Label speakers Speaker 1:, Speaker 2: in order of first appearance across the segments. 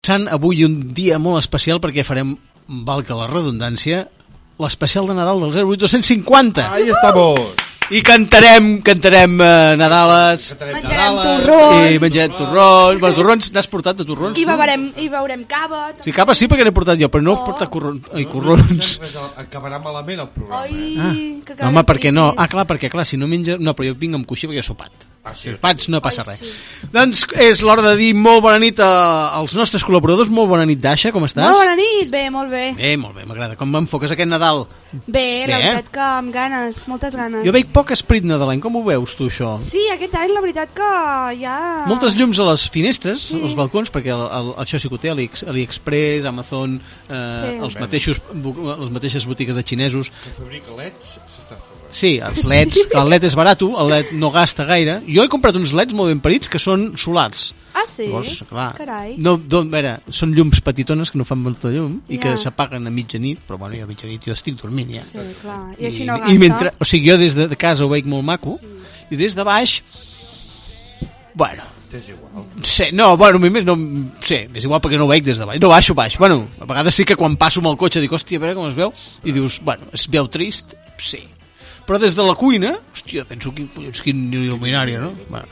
Speaker 1: Sant, avui un dia molt especial perquè farem, valca la redundància, l'especial de Nadal del 08250.
Speaker 2: Ahí estamos.
Speaker 1: I cantarem, cantarem eh, Nadales,
Speaker 3: Menjarem
Speaker 2: Nadales.
Speaker 3: torrons
Speaker 1: i menjarem torrons, bueno, torrons, n'has portat de torrons?
Speaker 3: i beurem, i beurem cava.
Speaker 1: Sí, cap sí perquè n'he portat jo, però no he
Speaker 3: Oh.
Speaker 1: portat corron, ai, corrons.
Speaker 2: Res, Acabarà malament el programa.
Speaker 3: Ai,
Speaker 2: eh?
Speaker 3: que
Speaker 1: No, Ah. home, perquè no. Ah, clar, perquè clar, si no menja... No, però jo vinc amb coixí perquè he sopat.
Speaker 2: Ah, sí.
Speaker 1: Si pats no passa
Speaker 3: Ai,
Speaker 1: res.
Speaker 3: sí.
Speaker 1: Doncs és l'hora de dir molt bona nit a, als nostres col·laboradors. Molt bona nit, Dasha, com estàs?
Speaker 3: Molt bona nit, bé, molt bé.
Speaker 1: Bé, molt bé, m'agrada. Com m'enfoques aquest Nadal?
Speaker 3: Bé, la
Speaker 1: Bé.
Speaker 3: veritat que amb ganes, moltes ganes.
Speaker 1: Jo veig poc esprit nadalenc, com ho veus tu això?
Speaker 3: Sí, aquest any la veritat que ja...
Speaker 1: Moltes llums a les finestres,
Speaker 3: Ah. Sí.
Speaker 1: als balcons, perquè el, el, això sí que ho té, Ali, AliExpress, Amazon, eh, sí.
Speaker 3: Sí.
Speaker 1: els mateixos, bu- les mateixes botigues de xinesos.
Speaker 2: Que fabrica leds s'està fent.
Speaker 1: Sí, els leds, sí. el led és barat, el led no gasta gaire. Jo he comprat uns leds molt ben parits que són solars.
Speaker 3: Ah, sí?
Speaker 1: Llavors, clar,
Speaker 3: Carai.
Speaker 1: No, don, a veure, són llums petitones que no fan molta llum i
Speaker 3: Ja.
Speaker 1: que s'apaguen a mitjanit, però bueno, jo a mitjanit jo estic dormint ja.
Speaker 3: Sí, clar. I, així no gasta.
Speaker 1: I mentre, o sigui, jo des de casa ho veig molt maco i des de baix, bueno,
Speaker 2: És igual.
Speaker 1: sé, no, bueno, a mi més no, sé, és igual perquè no ho veig des de baix, no baixo baix, bueno, a vegades sí que quan passo amb el cotxe dic, hòstia, a veure com es veu, i dius, bueno, es veu trist, sí, però des de la cuina, hòstia, penso quin, collons, quin il·luminari, no? Bueno.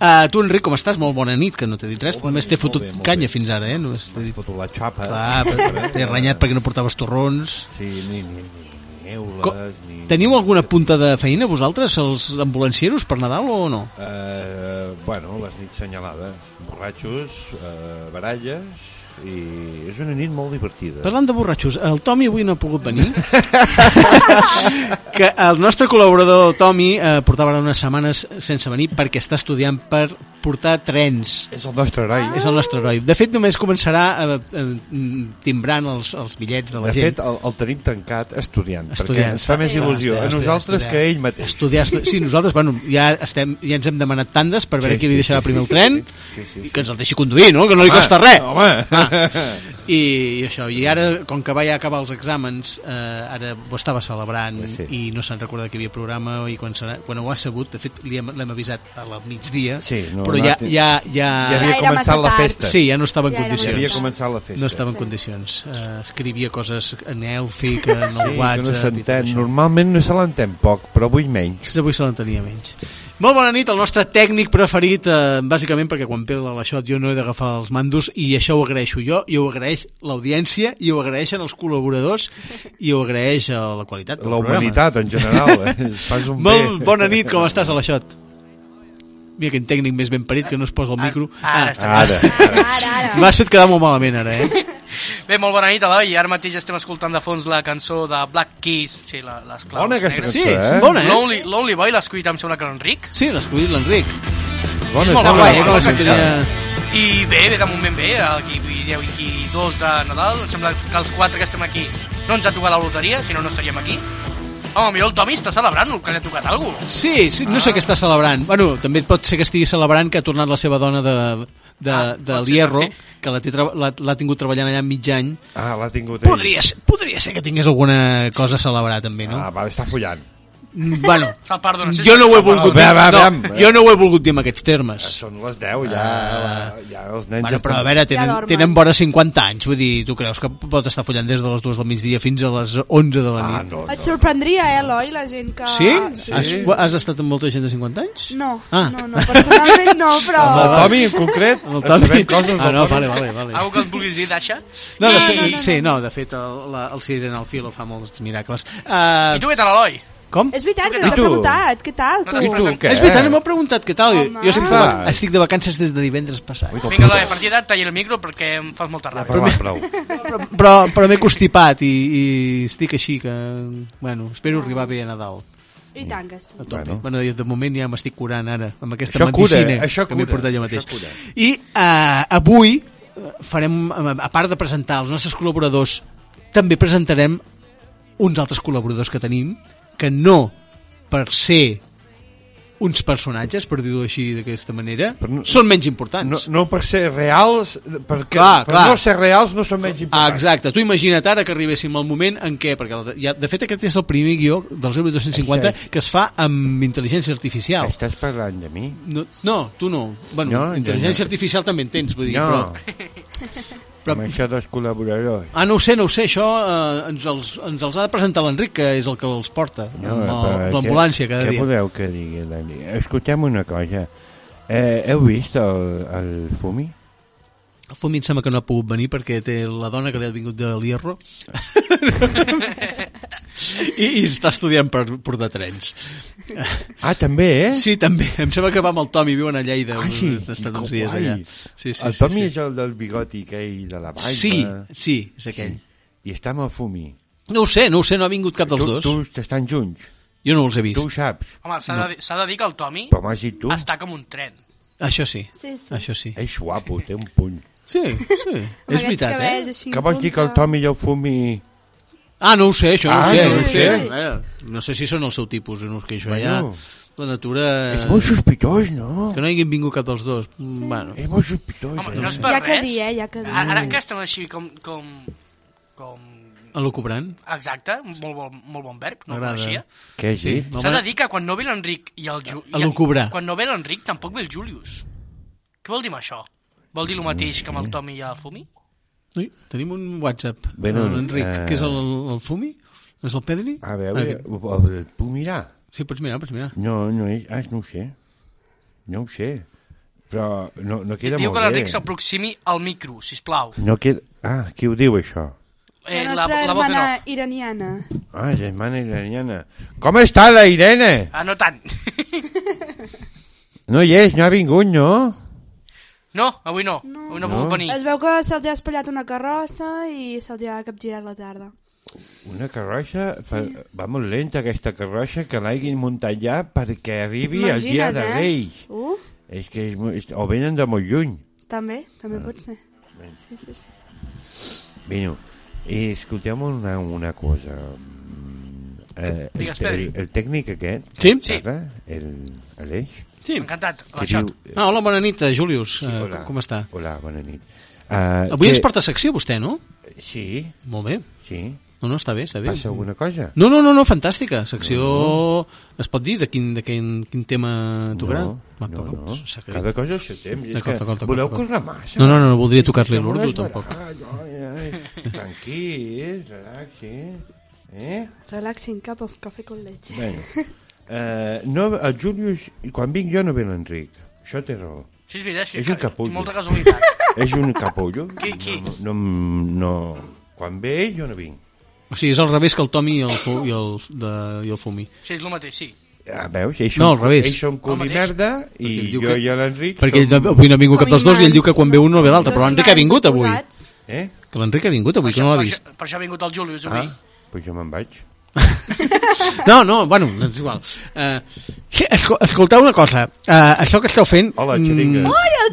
Speaker 1: Uh, tu, Enric, com estàs? Molt bona nit, que no t'he dit res,
Speaker 2: Molt
Speaker 1: però
Speaker 2: bona
Speaker 1: només
Speaker 2: nit,
Speaker 1: t'he
Speaker 2: molt
Speaker 1: fotut
Speaker 2: bé, molt
Speaker 1: canya
Speaker 2: bé. Ah,
Speaker 1: fins ara, eh? Només t'he
Speaker 2: Has
Speaker 1: dit,
Speaker 2: fotut la xapa.
Speaker 1: clar, però t'he renyat perquè no portaves torrons.
Speaker 2: Sí, ni, ni, ni, ni neules,
Speaker 1: Co-
Speaker 2: ni...
Speaker 1: Teniu alguna punta de feina, vosaltres, els ambulancieros, per Nadal o no?
Speaker 2: Eh, bueno, les nits senyalades. Borratxos, eh, baralles... I és una nit molt divertida.
Speaker 1: Parlant de borratxos, el Tomi avui no ha pogut venir. que el nostre col·laborador Tomi eh, portava ara unes setmanes sense venir perquè està estudiant per portar trens.
Speaker 2: És el nostre heroi.
Speaker 3: Ah.
Speaker 1: És el nostre heroi. De fet, només començarà eh, eh, timbrant els, els bitllets de la
Speaker 2: De
Speaker 1: gent.
Speaker 2: fet, el, el tenim tancat estudiant, perquè
Speaker 1: Estudiant.
Speaker 2: ens fa més
Speaker 1: Estudiar,
Speaker 2: il·lusió
Speaker 1: estudiar,
Speaker 2: a nosaltres
Speaker 1: estudiar.
Speaker 2: que a ell mateix.
Speaker 1: Estudiar, estu... Sí, nosaltres, bueno, ja, estem, ja ens hem demanat tandes per veure sí,
Speaker 2: Sí,
Speaker 1: qui
Speaker 2: sí,
Speaker 1: li deixarà
Speaker 2: sí,
Speaker 1: primer el
Speaker 2: sí,
Speaker 1: tren
Speaker 2: sí, sí, sí.
Speaker 1: i que ens el deixi conduir, no? Que no li
Speaker 2: Home,
Speaker 1: costa res.
Speaker 2: Ah,
Speaker 1: Ah.
Speaker 2: home.
Speaker 1: I, I això, i ara, com que vaig acabar els exàmens, eh, ara ho estava celebrant
Speaker 2: Sí.
Speaker 1: sí. i no se'n recorda que hi havia programa i quan, serà, quan ho ha sabut, de fet, li hem- l'hem avisat a la migdia,
Speaker 2: Sí, no,
Speaker 1: però
Speaker 2: no,
Speaker 1: ja,
Speaker 2: té-
Speaker 1: ja, ja,
Speaker 2: Ja
Speaker 3: Ja
Speaker 2: havia
Speaker 3: era
Speaker 2: començat
Speaker 3: massa
Speaker 2: la
Speaker 3: tard. doncs.
Speaker 2: festa.
Speaker 1: Sí, ja no estava en
Speaker 3: Ja era
Speaker 2: Ja
Speaker 1: condicions.
Speaker 2: havia començat la festa.
Speaker 1: No estava en
Speaker 3: Sí.
Speaker 1: condicions. Eh, escrivia coses en èlfic, en el
Speaker 2: Sí, que no
Speaker 1: WhatsApp... i tot
Speaker 2: s'entén.
Speaker 1: això.
Speaker 2: Normalment no se l'entén poc, però avui menys.
Speaker 1: Avui se l'entenia menys. Molt bona nit, el nostre tècnic preferit, eh, bàsicament perquè quan pela la xot jo no he d'agafar els mandos i això ho agraeixo jo, i ho agraeix l'audiència, i ho agraeixen els col·laboradors, i ho agraeix eh, la qualitat del
Speaker 2: La
Speaker 1: programa.
Speaker 2: humanitat, en general, eh? Ens fas un
Speaker 1: Molt
Speaker 2: bé.
Speaker 1: bona nit, com estàs a la xot? Mira quin tècnic més ben parit que no es posa el micro.
Speaker 4: Ah,
Speaker 1: Ah,
Speaker 4: Ara està.
Speaker 2: Ara.
Speaker 3: Ara, ara, ara.
Speaker 1: M'has fet quedar molt malament ara, eh?
Speaker 4: Bé, molt bona nit, Eloi. Ara mateix estem escoltant de fons la cançó de Black Keys, sí, la, les claus
Speaker 2: Bona aquesta
Speaker 4: negres.
Speaker 1: Sí,
Speaker 2: Això, eh?
Speaker 1: és bona, eh?
Speaker 4: Lonely, Lonely Boy l'ha escollit, em sembla que l'Enric.
Speaker 1: Sí, l'ha escollit l'Enric.
Speaker 2: Bona,
Speaker 4: Molt
Speaker 1: Ah,
Speaker 4: bona,
Speaker 1: guai,
Speaker 2: bona,
Speaker 1: eh, com
Speaker 4: bona
Speaker 1: la sintonia.
Speaker 4: I bé, bé, de moment bé, aquí, avui dia 22 de Nadal, em sembla que els quatre que estem aquí no ens ha tocat la loteria, si no, no estaríem aquí. Home, millor el Tomi està celebrant que li ha tocat alguna cosa.
Speaker 1: Sí, sí, no sé què està celebrant. Bueno, també pot ser que estigui celebrant que ha tornat la seva dona de, de, ah,
Speaker 4: Ah,
Speaker 1: de
Speaker 4: pot ser,
Speaker 1: l'Hierro,
Speaker 4: també.
Speaker 1: que la té tra- l'ha l'ha tingut treballant allà mig any.
Speaker 2: Ah, l'ha tingut ell.
Speaker 1: Podria ser, podria ser que tingués alguna cosa a celebrar, també, no?
Speaker 2: Ah, va, està follant.
Speaker 1: Mm, Bueno,
Speaker 4: Se'l perdona. sí,
Speaker 1: jo no ho he
Speaker 4: se'l perdona.
Speaker 1: volgut
Speaker 2: Va,
Speaker 1: dir,
Speaker 2: va,
Speaker 1: no,
Speaker 2: va.
Speaker 1: jo no ho he volgut dir en aquests termes.
Speaker 2: Són les 10, ja,
Speaker 1: Ah.
Speaker 2: ja els nens
Speaker 1: Bueno,
Speaker 2: ja
Speaker 1: però a
Speaker 2: estan-
Speaker 1: veure,
Speaker 3: Ja
Speaker 1: tenen,
Speaker 3: dormen.
Speaker 1: tenen vora 50 anys, vull dir, tu creus que pot estar follant des de les 2 del migdia fins a les 11 de la
Speaker 2: Ah,
Speaker 1: nit?
Speaker 2: no,
Speaker 3: Et
Speaker 2: no.
Speaker 3: sorprendria, eh, Eloi, la gent que...
Speaker 1: Sí?
Speaker 3: Ah, sí.
Speaker 1: Has, has estat amb molta gent de 50 anys?
Speaker 3: No,
Speaker 1: Ah.
Speaker 3: no, no, personalment no, però...
Speaker 2: Amb el Tomi, en concret,
Speaker 1: Amb el
Speaker 2: en sabem
Speaker 1: Tomi?
Speaker 2: coses del
Speaker 1: Ah, no,
Speaker 2: Tomi.
Speaker 1: vale, vale, vale.
Speaker 4: Algú que et vulguis dir, Dasha?
Speaker 1: No, de
Speaker 3: No,
Speaker 1: fet,
Speaker 3: no, no, no.
Speaker 1: sí, no, de fet, el, la, el Sirena al filo fa molts miracles.
Speaker 4: I
Speaker 1: Uh,
Speaker 4: tu què tal, Eloi?
Speaker 1: com?
Speaker 3: És veritat que
Speaker 2: I
Speaker 3: no t'he
Speaker 2: tu?
Speaker 3: preguntat, què tal,
Speaker 4: No
Speaker 3: tu?
Speaker 4: t'has
Speaker 2: I tu, què?
Speaker 1: És veritat, no m'ho ha preguntat què tal.
Speaker 3: Home.
Speaker 1: Jo sempre
Speaker 2: Ah.
Speaker 1: estic de vacances des de divendres passat.
Speaker 2: Ui,
Speaker 4: Vinga, Eloi, a partir d'ara talla el micro perquè em fas molta
Speaker 2: Ja ha
Speaker 4: ràbia.
Speaker 2: parlat prou.
Speaker 1: Però, però, però m'he constipat i, i estic així que... Bueno, espero arribar bé a Nadal.
Speaker 3: I tant que sí.
Speaker 1: A tope.
Speaker 2: Bueno.
Speaker 1: Bueno. bueno, jo de moment ja m'estic curant ara, amb aquesta
Speaker 2: Això cura, eh?
Speaker 1: medicina
Speaker 2: això
Speaker 1: que m'he
Speaker 2: cura,
Speaker 1: portat jo
Speaker 2: això
Speaker 1: mateix.
Speaker 2: cura.
Speaker 1: I eh, avui eh, farem, eh, a part de presentar els nostres col·laboradors, també presentarem uns altres col·laboradors que tenim, que no per ser uns personatges, per dir-ho així d'aquesta manera,
Speaker 2: Però no-
Speaker 1: són menys importants.
Speaker 2: No, no per ser reals, perquè
Speaker 1: Clar,
Speaker 2: per
Speaker 1: clar.
Speaker 2: no ser reals no són menys
Speaker 1: Ah,
Speaker 2: importants.
Speaker 1: exacte, tu imagina't ara que arribéssim al moment en què, perquè el- ja, de fet aquest és el primer guió del 0250
Speaker 2: Això és.
Speaker 1: que es fa amb intel·ligència artificial.
Speaker 2: Estàs parlant de mi?
Speaker 1: No, no tu no. Bueno,
Speaker 2: No,
Speaker 1: no,
Speaker 2: no,
Speaker 1: intel·ligència
Speaker 2: no.
Speaker 1: artificial també en tens, vull dir,
Speaker 2: no,
Speaker 1: però...
Speaker 2: però...
Speaker 1: però-
Speaker 2: amb això dels col·laboradors.
Speaker 1: Ah, no ho sé, no ho sé, això eh, ens, els, ens els ha de presentar l'Enric, que és el que els porta,
Speaker 2: No,
Speaker 1: amb el-
Speaker 2: però eh,
Speaker 1: l'ambulància cada
Speaker 2: què
Speaker 1: dia.
Speaker 2: Què voleu que digui, Dani? Escoltem una cosa. Eh, heu vist el, el Fumi?
Speaker 1: El Fumi em sembla que no ha pogut venir perquè té la dona que li ha vingut de l'Hierro I, i està estudiant per portar trens.
Speaker 2: Ah, també, eh?
Speaker 1: Sí, també. Em sembla que va amb el Tomi, viuen a Lleida.
Speaker 2: Ah, sí?
Speaker 1: Ha estat
Speaker 2: Que
Speaker 1: uns dies
Speaker 2: guai.
Speaker 1: allà. Sí, sí,
Speaker 2: el
Speaker 1: sí,
Speaker 2: Tomi
Speaker 1: sí.
Speaker 2: és el del bigoti aquell de la barba.
Speaker 1: Sí, sí, és aquell.
Speaker 2: I està amb el Fumi.
Speaker 1: No ho sé, no ho sé, no ha vingut cap dels
Speaker 2: tu,
Speaker 1: dos.
Speaker 2: Tu estan junts.
Speaker 1: Jo no els he
Speaker 2: Tu ho
Speaker 1: vist.
Speaker 2: saps.
Speaker 4: Home, s'ha de, s'ha de dir que el Tommy
Speaker 2: Però m'has dit tu.
Speaker 4: està com un tren.
Speaker 1: Això sí,
Speaker 3: Sí, sí.
Speaker 1: això sí.
Speaker 2: És guapo, té un puny.
Speaker 1: Sí, sí,
Speaker 3: Amb
Speaker 1: és
Speaker 3: aquests
Speaker 1: veritat,
Speaker 3: cabells
Speaker 1: eh?
Speaker 3: així
Speaker 2: Què vols dir que el Tomi i el Fumi...
Speaker 1: Ah, no ho sé, això no
Speaker 2: Ah,
Speaker 1: ho sé.
Speaker 2: no ho
Speaker 1: ho
Speaker 2: sé.
Speaker 1: Eh, No sé si són el seu tipus, no, és que això ja...
Speaker 2: Bueno.
Speaker 1: La natura...
Speaker 2: És molt sospitós, no?
Speaker 1: Que no hagin vingut cap dels dos. Sí. Bueno.
Speaker 2: És molt sospitós,
Speaker 4: Home, no
Speaker 2: eh?
Speaker 4: és per
Speaker 3: Ja que
Speaker 4: res.
Speaker 3: dir, eh? Ja que dir.
Speaker 4: Ara, ara
Speaker 1: Mm.
Speaker 4: que estem així com... com, com
Speaker 1: Elocubrant?
Speaker 4: exacte, molt bon, molt bon verb, no ho
Speaker 1: M'agrada. eh?
Speaker 4: coneixia.
Speaker 2: Què has dit?
Speaker 1: No,
Speaker 4: S'ha de
Speaker 1: home,
Speaker 4: dir que quan no ve l'Enric i el... Ju... i
Speaker 1: A lucubrar.
Speaker 4: Quan no ve l'Enric tampoc ve el Julius. Què vol dir amb això? Vol dir el mateix que amb el Tommy i el Fumi?
Speaker 1: ui, tenim un WhatsApp.
Speaker 2: Bueno,
Speaker 1: Bueno, L'Enric,
Speaker 2: eh,
Speaker 1: que és el, el Fumi? És el Pedri?
Speaker 2: A veure,
Speaker 1: Ah,
Speaker 2: ho, ho, ho puc mirar?
Speaker 1: Sí, pots mirar, pots mirar.
Speaker 2: No, no és... Ah, no ho sé. No ho sé. Però no, no queda
Speaker 4: Diu
Speaker 2: molt
Speaker 4: que
Speaker 2: bé.
Speaker 4: l'Enric s'aproximi al micro, sisplau.
Speaker 2: No queda... Ah, qui ho diu, això?
Speaker 4: Eh,
Speaker 3: la
Speaker 4: la,
Speaker 3: nostra
Speaker 4: la voz de
Speaker 3: hermana
Speaker 4: no.
Speaker 3: iraniana.
Speaker 2: Ah, germana iraniana. Com està la Irene?
Speaker 4: Ah, no tant.
Speaker 2: No hi és, no ha vingut, no?
Speaker 4: no, avui no. Avui no, no.
Speaker 2: No.
Speaker 4: puc venir.
Speaker 3: Es veu que se'ls ha espatllat una carrossa i se'ls ha capgirat la tarda.
Speaker 2: Una carroixa... Sí. Per... Va molt lenta, aquesta carroixa, que l'hagin muntat ja perquè arribi el dia de
Speaker 3: eh?
Speaker 2: Reis.
Speaker 3: Uh,
Speaker 2: És que és, mo- és, o venen de molt lluny.
Speaker 3: també, també pot ser. Sí, sí, sí.
Speaker 2: Vino, i escoltem una, una cosa. Mm, Eh, el,
Speaker 4: Digues,
Speaker 2: te-
Speaker 4: Pedri.
Speaker 2: el, el tècnic aquest,
Speaker 1: Sí?
Speaker 2: que parla, el, Aleix,
Speaker 1: Sí.
Speaker 4: Encantat.
Speaker 2: que
Speaker 4: La xot.
Speaker 2: diu...
Speaker 1: Ah, hola, bona nit, eh, Julius.
Speaker 2: Sí,
Speaker 1: Eh,
Speaker 2: hola.
Speaker 1: Com està?
Speaker 2: Hola, bona nit. Uh,
Speaker 1: Avui ens porta secció, vostè, no?
Speaker 2: Sí,
Speaker 1: Molt bé.
Speaker 2: sí.
Speaker 1: No, no, està bé, està bé.
Speaker 2: Passa alguna cosa?
Speaker 1: No, no, no, no, fantàstica. Secció... Es pot dir de quin, de quin, quin tema tocarà?
Speaker 2: No,
Speaker 1: Va,
Speaker 2: no,
Speaker 1: toca.
Speaker 2: no.
Speaker 1: Secret.
Speaker 2: Cada cosa al seu temps. i És
Speaker 1: D'acord,
Speaker 2: que
Speaker 1: d'acord, d'acord,
Speaker 2: voleu eh?
Speaker 1: d'acord.
Speaker 2: córrer massa.
Speaker 1: No, no, no, no voldria tocar-li
Speaker 2: Estem a
Speaker 1: l'ordo,
Speaker 2: les
Speaker 1: tampoc.
Speaker 2: baralles, ai, ai. Tranquil, relaxi. Eh?
Speaker 3: Relaxing cup of café con leche.
Speaker 2: Bueno. Eh, no, el Julius, quan vinc jo no ve l'Enric. Això té raó.
Speaker 4: Sí, és veritat. Sí,
Speaker 2: És un
Speaker 4: que-
Speaker 2: capullo.
Speaker 4: Molta casualitat.
Speaker 2: És un capullo.
Speaker 4: Qui, qui?
Speaker 2: No, no, no, quan ve ell, jo no vinc.
Speaker 1: O sigui, és al revés que el Tomi i el, fu i el, de, i el Fumi.
Speaker 4: Sí, és el mateix, sí.
Speaker 2: Ah, veus? Ells
Speaker 1: No,
Speaker 2: són-
Speaker 1: al revés.
Speaker 2: Ells són cul i
Speaker 4: mateix.
Speaker 2: merda i
Speaker 1: Perquè ell diu
Speaker 2: jo
Speaker 1: que-
Speaker 2: i l'Enric
Speaker 1: Perquè ell
Speaker 2: som...
Speaker 1: avui no ha vingut cap
Speaker 3: Com
Speaker 1: dels dos i ell diu que quan ve un no ve l'altre,
Speaker 3: Dos
Speaker 1: però l'Enric ha
Speaker 3: imants
Speaker 1: vingut avui.
Speaker 3: oposats.
Speaker 2: Eh?
Speaker 1: Que l'Enric ha vingut avui, que no l'ha vist.
Speaker 4: Per, això, per això ha vingut el Julius avui.
Speaker 2: Ah, doncs jo me'n vaig.
Speaker 1: No, no, bueno, és igual. Uh, escolteu una cosa, uh, això que esteu fent...
Speaker 2: Hola, xeringa.
Speaker 1: Ui,
Speaker 3: el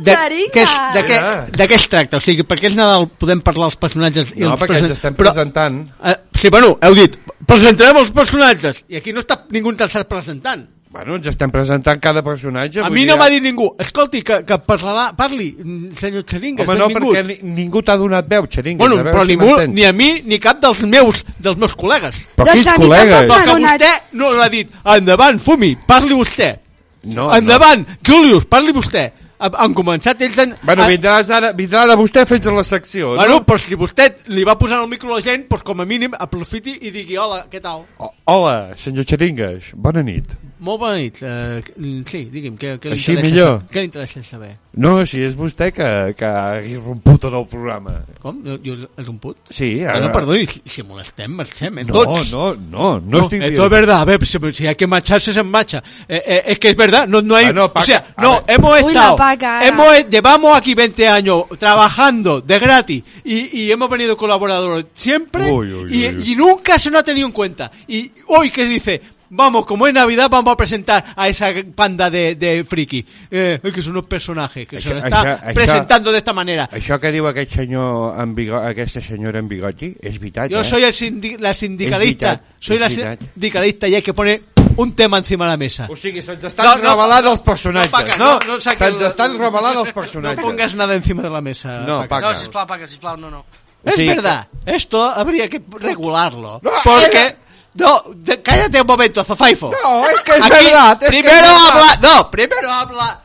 Speaker 1: De, de,
Speaker 3: xeringa!
Speaker 1: què,
Speaker 2: Mira.
Speaker 1: de què es tracta? O sigui, per què és Nadal podem parlar els personatges? i
Speaker 2: No,
Speaker 1: els
Speaker 2: perquè ens
Speaker 1: presen-
Speaker 2: estem
Speaker 1: però-
Speaker 2: presentant.
Speaker 1: Eh, sí, bueno, heu dit, presentarem els personatges, i aquí no està ningú interessat presentant.
Speaker 2: Bueno, ens estem presentant cada personatge.
Speaker 1: A
Speaker 2: vull
Speaker 1: mi
Speaker 2: dir,
Speaker 1: no m'ha dit ningú, escolti, que, que parlarà, parli, mm, senyor Xeringa,
Speaker 2: Home, no, perquè ni, ningú t'ha donat veu, xeringues.
Speaker 1: Bueno,
Speaker 2: a veure
Speaker 1: però
Speaker 2: si
Speaker 1: ningú,
Speaker 2: m'entens.
Speaker 1: ni a mi ni cap dels meus, dels meus col·legues.
Speaker 2: Però
Speaker 3: Doncs
Speaker 2: quins
Speaker 3: a mi
Speaker 2: col·legues?
Speaker 3: tampoc.
Speaker 1: Perquè
Speaker 3: donat-
Speaker 1: vostè no l'ha dit, endavant, fumi, parli vostè. Oh,
Speaker 2: No,
Speaker 1: Endavant, Julius, parli vostè. Ha- Han començat ells... En,
Speaker 2: No. Bueno,
Speaker 1: a-
Speaker 2: vindràs ara, vindrà ara vostè fins a la secció, no?
Speaker 1: Bueno, però si vostè li va posant al micro a la gent, doncs com a mínim aprofiti i digui hola, què tal?
Speaker 2: O- Hola, senyor Xeringues, bona nit.
Speaker 1: Molt bona nit. Uh, sí, digui'm, què, què, li
Speaker 2: Així
Speaker 1: interessa,
Speaker 2: millor.
Speaker 1: sa- què li interessa saber?
Speaker 2: No, si és vostè que, que ha irromput en el programa.
Speaker 1: Com? Jo, jo és un put?
Speaker 2: Sí,
Speaker 1: Ah,
Speaker 2: ara...
Speaker 1: no, perdoni, si- si molestem, marxem, eh,
Speaker 2: No,
Speaker 1: tots.
Speaker 2: no, no, no, estic
Speaker 1: esto es
Speaker 2: dient...
Speaker 1: eh, verdad, a ver, si, si hay que marcharse se marcha. Eh, eh, es que es verdad, no, no hay...
Speaker 2: Ah, no,
Speaker 1: o
Speaker 2: Paca,
Speaker 1: sea,
Speaker 2: a
Speaker 1: no,
Speaker 2: ver.
Speaker 1: hemos
Speaker 3: Uy, la
Speaker 1: estado...
Speaker 3: Paca, ahora.
Speaker 1: hemos, e-, llevamos aquí 20 años trabajando de gratis y, y hemos venido colaboradores siempre
Speaker 2: Uy, uy,
Speaker 1: y,
Speaker 2: uy, uy.
Speaker 1: y nunca se nos ha tenido en cuenta. Y hoy que dice... Vamos, como es Navidad, vamos a presentar a esa panda de, de friki. Eh, que son unos personajes que se
Speaker 2: Això-
Speaker 1: nos está
Speaker 2: això- això-
Speaker 1: presentando de esta manera.
Speaker 2: Això que diu aquest senyor amb bigo... aquesta senyora amb bigoti és veritat,
Speaker 1: Yo
Speaker 2: eh?
Speaker 1: soy el sindi- la sindicalista.
Speaker 2: Es vital,
Speaker 1: soy
Speaker 2: es
Speaker 1: la
Speaker 2: vital.
Speaker 1: sindicalista y hay que poner un tema encima de la mesa.
Speaker 2: O sigui, se'ns estan
Speaker 1: No, no,
Speaker 2: revelant els personatges,
Speaker 1: Paca,
Speaker 2: no?
Speaker 1: no, no saquis
Speaker 2: se'ns
Speaker 1: la-
Speaker 2: estan revelant els
Speaker 1: No
Speaker 2: personatges.
Speaker 1: pongas nada encima de la mesa.
Speaker 2: No,
Speaker 1: Paca.
Speaker 2: Paca.
Speaker 4: No, sisplau, Paca, sisplau, no, no.
Speaker 1: Es
Speaker 2: Sí,
Speaker 1: verdad, esto habría que regularlo.
Speaker 2: No,
Speaker 1: porque... No, de- cállate un momento, Zofaifo.
Speaker 2: No, es que es
Speaker 1: Aquí
Speaker 2: verdad, es que
Speaker 1: primero
Speaker 2: es verdad.
Speaker 1: habla... No, primero habla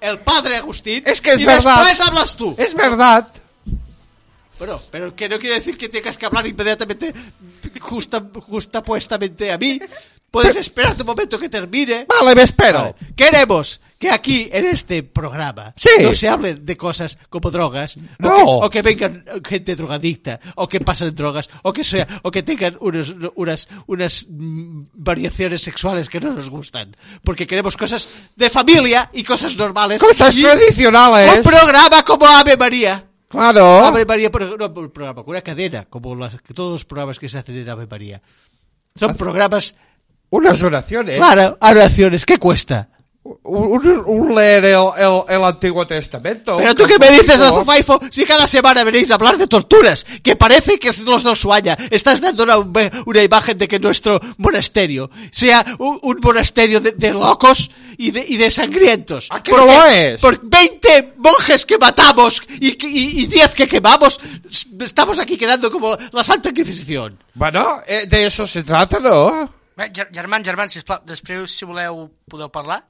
Speaker 1: el padre Agustín
Speaker 2: Es que es
Speaker 1: y
Speaker 2: verdad.
Speaker 1: después hablas tú.
Speaker 2: Es verdad.
Speaker 1: Bueno, pero que no quiere decir que tengas que hablar inmediatamente, justa, justapuestamente a mí. Puedes esperar un momento que termine.
Speaker 2: Vale, me espero.
Speaker 1: Vale. Queremos que aquí, en este programa,
Speaker 2: Sí.
Speaker 1: no se hable de cosas como drogas,
Speaker 2: No.
Speaker 1: o, que, o que vengan gente drogadicta, o que pasen drogas, o que sea, o que tengan unos- unas, unas mm, variaciones sexuales que no nos gustan. Porque queremos cosas de familia y cosas normales.
Speaker 2: Cosas
Speaker 1: y Un
Speaker 2: tradicionales.
Speaker 1: programa como Ave María.
Speaker 2: Claro.
Speaker 1: Ave María, por- no por un programa, una cadena, como las- que todos los programas que se hacen en Ave María.
Speaker 2: Ah,
Speaker 1: Son programas,
Speaker 2: Unas oraciones.
Speaker 1: claro, oraciones, ¿qué cuesta?
Speaker 2: Un, un- un leer el, el- el Antiguo Testamento.
Speaker 1: Pero tú que me dices,
Speaker 2: Antiguo.
Speaker 1: Zofaifo, si cada semana venís a hablar de torturas, que parece que es los dos sueña. Estás dando una, una imagen de que nuestro monasterio sea un, un monasterio de, de locos y de, y de sangrientos.
Speaker 2: ¿A qué lo es?
Speaker 1: Por 20 monjes que matamos y, que- y, y 10 que quemamos, s- estamos aquí quedando como la Santa Inquisición.
Speaker 2: Bueno, eh, de eso se trata, ¿no?
Speaker 4: Bé, ger- germans, germans, sisplau, després, si voleu, podeu parlar.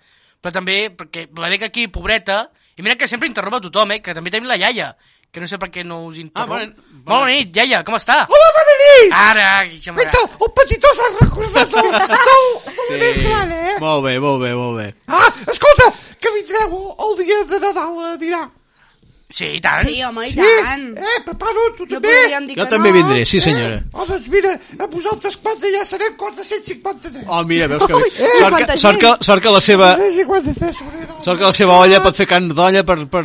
Speaker 4: Però també, perquè la dec aquí, pobreta, i mira que sempre interromp a tothom, eh, que també tenim la iaia, que no sé per què no us interromp.
Speaker 1: bona- bona-
Speaker 4: Bona nit, iaia, com està?
Speaker 2: Hola, bona nit!
Speaker 4: Ara, ja m'agrada.
Speaker 1: Ah,
Speaker 2: Vita, el petitó s'ha recordat del, del, del més gran, eh?
Speaker 1: Molt bé, molt bé, molt bé.
Speaker 2: Ah, escolta, que vindreu el, el dia de Nadal a dinar.
Speaker 4: Sí, i tant.
Speaker 3: Sí, home, i tant.
Speaker 2: Eh, preparo, tu
Speaker 3: No
Speaker 2: també?
Speaker 3: podríem dir que
Speaker 1: Jo també
Speaker 3: no. Eh?
Speaker 1: vindré, sí senyora.
Speaker 2: Oh, doncs mira, a vosaltres quatre ja serem 453.
Speaker 1: Oh, mira, veus que...
Speaker 3: Ui,
Speaker 1: bé.
Speaker 3: eh,
Speaker 1: sort,
Speaker 3: quanta
Speaker 1: que, sort, que,
Speaker 3: gent.
Speaker 1: sort que la seva...
Speaker 2: 453 sobre nou.
Speaker 1: Sort que la seva
Speaker 2: eh,
Speaker 1: olla pot fer carn d'olla per... per,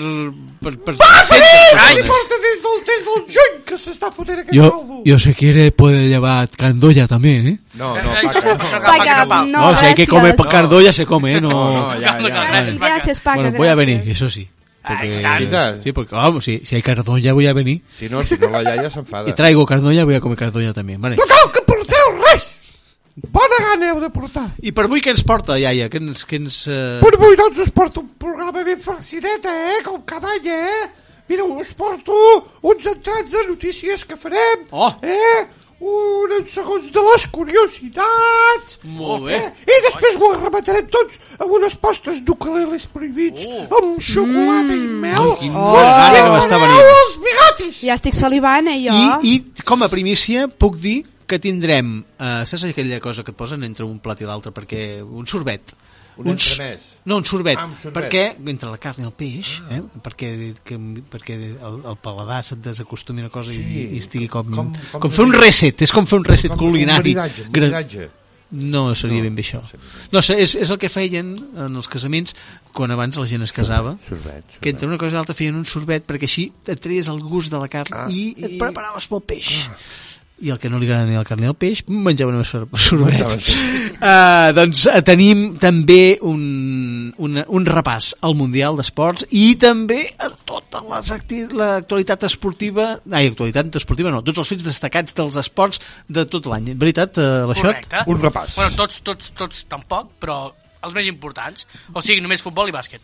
Speaker 1: per, per
Speaker 2: Sí,
Speaker 1: Ai,
Speaker 2: sí, porta des del 3 del juny que s'està fotent aquest caldo.
Speaker 1: si quiere puede llevar candolla también, ¿eh?
Speaker 2: No,
Speaker 4: no, Paca, no.
Speaker 3: Paca,
Speaker 4: No,
Speaker 3: no,
Speaker 1: si hay que comer pa-
Speaker 3: gràcies.
Speaker 1: candolla se come, ¿eh? No, Ah,
Speaker 2: No, no, ya,
Speaker 4: No, no,
Speaker 2: ya.
Speaker 4: gràcies, Paca.
Speaker 3: Gràcies, Paca,
Speaker 1: bueno, voy a
Speaker 3: gràcies.
Speaker 1: venir, eso sí. Porque-
Speaker 4: Ai, i
Speaker 2: tant.
Speaker 1: sí, porque vamos, si, si hay cardolla voy a venir.
Speaker 2: Si no, si no la iaia s'enfada.
Speaker 1: Y traigo cardolla, voy a comer cardolla también, vale?
Speaker 2: No cal que porteu res! Bona gana heu de portar.
Speaker 1: I per avui què ens porta, iaia? Què ens... Què ens eh...
Speaker 2: Per avui doncs us porto un programa ben farcidet, eh? Com cada any, eh? Mira, us porto uns entrats de notícies que farem.
Speaker 1: Oh.
Speaker 2: Eh? Uns segons de les curiositats.
Speaker 1: Molt bé.
Speaker 2: Eh? I després ho rematarem tots amb unes postres d'ucaleles prohibits,
Speaker 4: Oh.
Speaker 2: amb xocolata i mel.
Speaker 1: Mm. Quin desgana que m'està venint.
Speaker 2: Prepareu els bigotis!
Speaker 3: Ja estic salivant, eh, jo.
Speaker 1: I, I com a primícia puc dir que tindrem, eh, saps aquella cosa que et posen entre un plat i l'altre perquè un sorbet.
Speaker 2: Un
Speaker 1: s-
Speaker 2: entremès.
Speaker 1: No, un sorbet,
Speaker 2: Ah, un sorbet. Ah.
Speaker 1: perquè entre la carn i el peix, eh, perquè, que, perquè el, el paladar se't desacostumi a una cosa sí. i, i estigui com, com, com, com fer un reset, és com fer un reset culinari.
Speaker 2: maridatge,
Speaker 1: Gra-
Speaker 2: maridatge.
Speaker 1: no, seria
Speaker 2: No,
Speaker 1: no, ben bé això.
Speaker 2: no seria
Speaker 1: No, sé, és, és el que feien en els casaments quan abans la gent es casava.
Speaker 2: sorbet, sorbet.
Speaker 1: Que entre una cosa i l'altra feien un sorbet perquè així et treies el gust de la carn
Speaker 2: Ah,
Speaker 1: ah, i,
Speaker 2: i- Ah.
Speaker 1: et preparaves pel peix. I el que no li agrada ni la carn ni el peix, menjava només sor- sorbet.
Speaker 2: Menjava sorbet.
Speaker 1: Uh, doncs eh, tenim també un, un, un repàs al Mundial d'Esports i també a tota l'actualitat esportiva, ai, actualitat esportiva no, tots els fets destacats dels esports de tot l'any. En veritat, uh, l'Aixot?
Speaker 4: Correcte.
Speaker 2: Un repàs.
Speaker 4: Bueno, tots, tots, tots tampoc, però els més importants. O sigui, només futbol i bàsquet.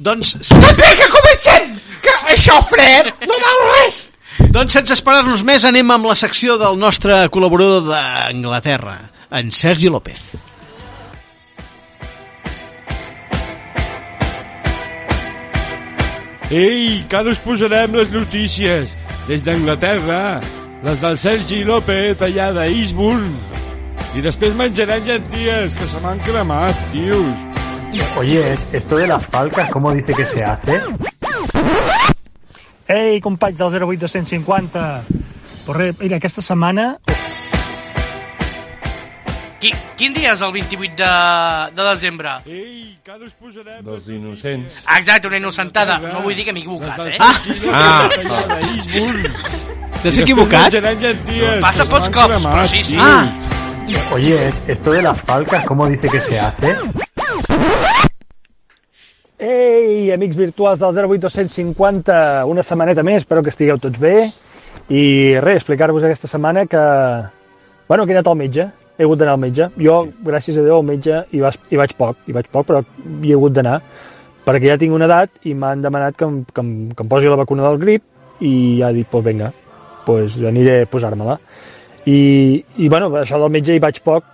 Speaker 1: Doncs, sí,
Speaker 2: Bé, que comencem! Que això fred no val res!
Speaker 1: doncs sense esperar-nos més anem amb la secció del nostre col·laborador d'Anglaterra, en Sergi López.
Speaker 5: Ei, que ara us posarem les notícies des d'Anglaterra, les del Sergi López allà d'Eastbourne. I després menjarem llenties, que se m'han cremat, tios.
Speaker 6: Oye, esto de las falcas, ¿cómo dice que se hace? Ei, companys del 08250! Pues res, mira, aquesta setmana
Speaker 4: Qui, quin dia és el 28 de, de desembre?
Speaker 5: Ei, que ara us posarem...
Speaker 2: Dels innocents.
Speaker 4: Exacte, una innocentada. No vull dir que m'he equivocat, eh?
Speaker 5: Ah! Ah! d'Eastbourne. I
Speaker 1: T'has
Speaker 5: després
Speaker 1: equivocat?
Speaker 5: Menjarem llenties,
Speaker 4: Passa
Speaker 5: que se
Speaker 4: pocs
Speaker 5: m'han
Speaker 4: cops,
Speaker 5: cremat,
Speaker 4: però sí, sí.
Speaker 5: tios.
Speaker 1: Ah,
Speaker 6: Oye, esto de las falcas, ¿cómo dice que se hace? Ei, amics virtuals del 08250, una setmaneta més, espero que estigueu tots bé. I res, explicar-vos aquesta setmana que... Bueno, que he anat al metge. he hagut d'anar al metge. Jo, gràcies a Déu, al metge hi, vas, hi vaig poc, hi vaig poc, però hi he hagut d'anar, perquè ja tinc una edat i m'han demanat que em, que, em, que em posi la vacuna del grip i ja he dit, pues vinga, pues aniré a posar-me-la. I, I, bueno, això del metge hi vaig poc,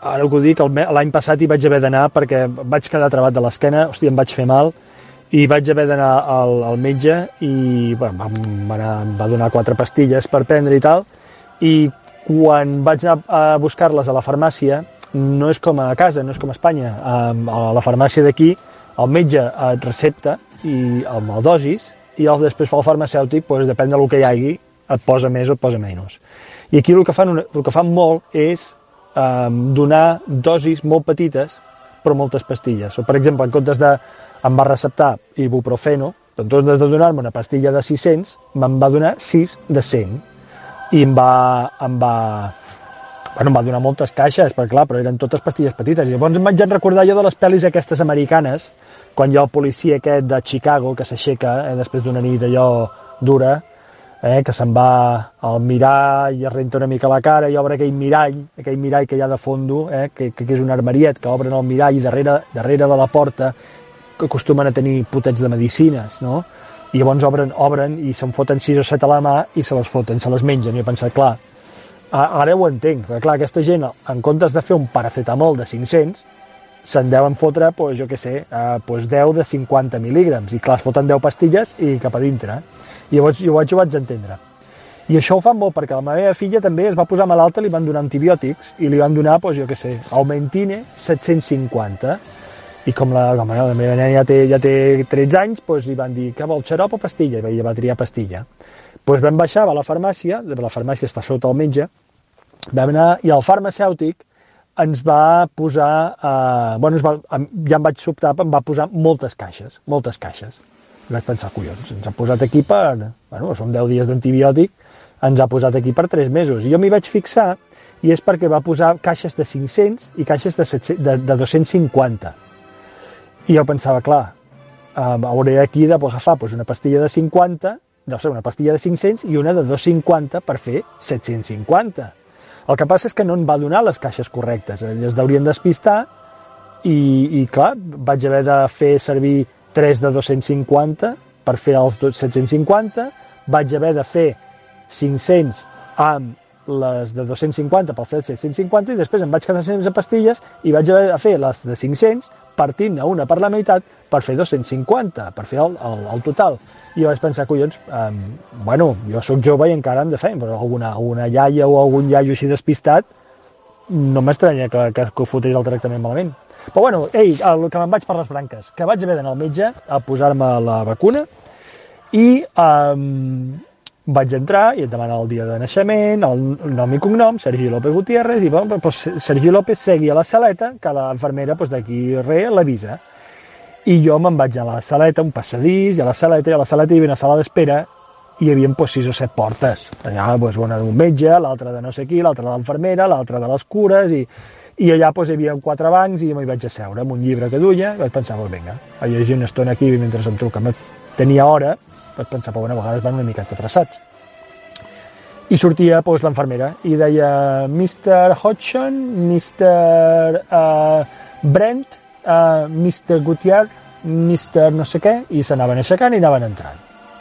Speaker 6: ara que ho dic, el me- l'any passat hi vaig haver d'anar perquè vaig quedar trebat de l'esquena, hòstia, em vaig fer mal, i vaig haver d'anar al, al metge i bueno, em, va, anar, em va donar quatre pastilles per prendre i tal, i quan vaig anar a buscar-les a la farmàcia, no és com a casa, no és com a Espanya. Em- A la farmàcia d'aquí, el metge et recepta i el maldosis, i el, després fa el farmacèutic, doncs, depèn del que hi hagi, et posa més o et posa menys. I aquí el que fan, una, el que fan molt és um, donar dosis molt petites, però moltes pastilles. O, per exemple, en comptes de... em va receptar ibuprofeno, però en comptes de donar-me una pastilla de 600, me'n va donar 6 de 100 i em va, em va, bueno, em va donar moltes caixes, perquè clar, però eren totes pastilles petites. I llavors em vaig recordar jo de les pel·lis aquestes americanes, quan hi ha el policia aquest de Chicago que s'aixeca eh, després d'una nit allò dura, eh, que se'n va al mirall i es renta una mica la cara i obre aquell mirall, aquell mirall que hi ha de fondo, eh, que, que, que és un armariet que obren el mirall i darrere, darrere de la porta que acostumen a tenir potets de medicines, no? I llavors obren, obren i se'n foten sis o set a la mà i se les foten, se les mengen. I he pensat, clar, a- ara ho entenc, perquè clar, aquesta gent, en comptes de fer un paracetamol de 500, se'n deuen fotre, pues, jo què sé, eh, pues 10 de 50 mil·lígrams. I clar, es foten 10 pastilles i cap a dintre. eh? I llavors jo ho vaig, ho vaig entendre. I això ho fan molt, perquè la meva filla també es va posar malalta, li van donar antibiòtics, i li van donar, pues, jo què sé, Aumentine 750. I com la, com la meva nena ja té, ja té 13 anys, pues, li van dir, que vol xarop o pastilla? I ella va triar pastilla. Pues vam baixar a la farmàcia, la farmàcia està sota el metge, vam anar, i el farmacèutic ens va posar, eh, bueno, ens va, em- ja em vaig sobtar, em va posar moltes caixes, moltes caixes. I vaig pensar, collons, ens ha posat aquí per, bueno, són 10 dies d'antibiòtic, ens ha posat aquí per 3 mesos. I jo m'hi vaig fixar, i és perquè va posar caixes de 500 i caixes de, 700, de, de 250. I jo pensava, clar, um, hauré aquí de pues, agafar pues, una pastilla de 50, no sé, una pastilla de 500 i una de 250 per fer 750. El que passa és que no en va donar les caixes correctes, eh, es deurien despistar i, i clar, vaig haver de fer servir 3 de 250 per fer els do- 750, vaig haver de fer 500 amb les de 250 pel fer 750 i després em vaig quedar sense pastilles i vaig haver de fer les de 500 partint a una per la meitat per fer 250, per fer el, el, el total. I vaig pensar, collons, um, bueno, jo sóc jove i encara hem de fer, però alguna, alguna iaia o algun iaio així despistat no m'estranya que, que, que ho fotés el tractament malament. Però bueno, ei, el que me'n vaig per les branques, que vaig haver d'anar al metge a posar-me la vacuna i um, vaig entrar i et demana el dia de naixement, el nom i cognom, Sergi López Gutiérrez, i bueno, doncs, Sergi López segui a la saleta, que la infermera doncs, d'aquí re l'avisa. I jo me'n vaig a la saleta, un passadís, i a la saleta, i a la saleta hi havia una sala d'espera, i hi havia doncs, sis o set portes. Allà, doncs, una d'un metge, l'altra de no sé qui, l'altra de l'infermera, l'altra de les cures, i, i allà doncs, hi havia quatre bancs, i jo m'hi vaig asseure amb un llibre que duia, i vaig pensar, doncs, vinga, a llegir una estona aquí mentre em truca. No Tenia hora, vaig pensar, però bueno, a vegades van una miqueta atreçats. I sortia doncs, l'infermera i deia Mr. Hodgson, Mr. Uh, Brent, uh, Mr. Gutiérrez, Mr. no sé què, i s'anaven aixecant i anaven entrant.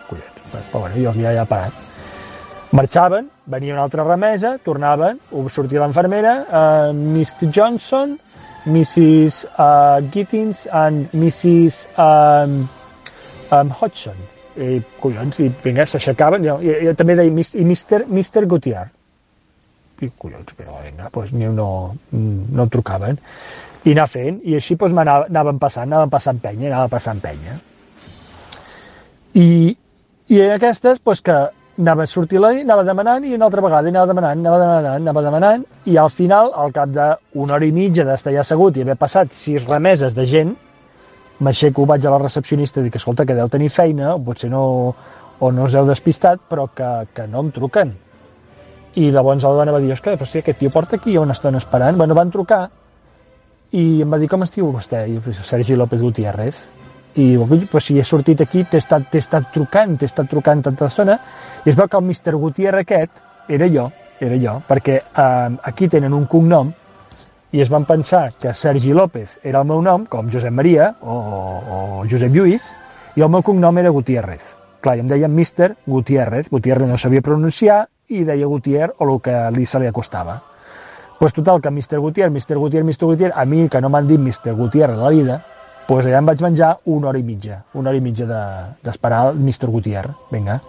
Speaker 6: Collons, però però bueno, jo ja he parat. Marxaven, venia una altra remesa, tornaven, ho- sortia l'infermera, uh, Mr. Johnson, Mrs. Uh, Gittins and Mrs. Um, um, Hodgson. I, collons, i vinga, s'aixecaven. Jo, jo, jo també deia, "Mis- i Mr. Mr. Gutiérrez. I, collons, però vinga, doncs, ni no, no trucaven. I anar fent, i així doncs, m'anava- anaven passant, anaven passant penya, anava passant penya. I, i aquestes, doncs, que anava a sortir la nit, anava demanant, i una altra vegada, i anava demanant, anava demanant, anava demanant, i al final, al cap d'una hora i mitja d'estar ja assegut i haver passat sis remeses de gent, m'aixeco, vaig a la recepcionista i dic, escolta, que deu tenir feina, o potser no, o no us heu despistat, però que, que no em truquen. I llavors la dona va dir, osca, però si aquest tio porta aquí una estona esperant. Bueno, van trucar i em va dir, com es diu vostè? I jo, Sergi López Gutiérrez. I diu, "Coi, però si he sortit aquí, t'he estat, t'he estat trucant, t'he estat trucant tanta estona. I es veu que el Mr. Gutiérrez aquest era jo. era jo, perquè eh, aquí tenen un cognom i es van pensar que Sergi López era el meu nom, com Josep Maria o, o Josep Lluís, i el meu cognom era Gutiérrez. Clar, i em deien Mister Gutiérrez, Gutiérrez no sabia pronunciar i deia Gutiérrez o el que li se li acostava. Pues total, que Mr. Gutiérrez, Mr. Gutiérrez, Mr. Gutiérrez, a mi, que no m'han dit Mr. Gutiérrez a la vida, pues allà em vaig menjar una hora i mitja, una hora i mitja de- d'esperar de, Mr. Gutiérrez, vinga.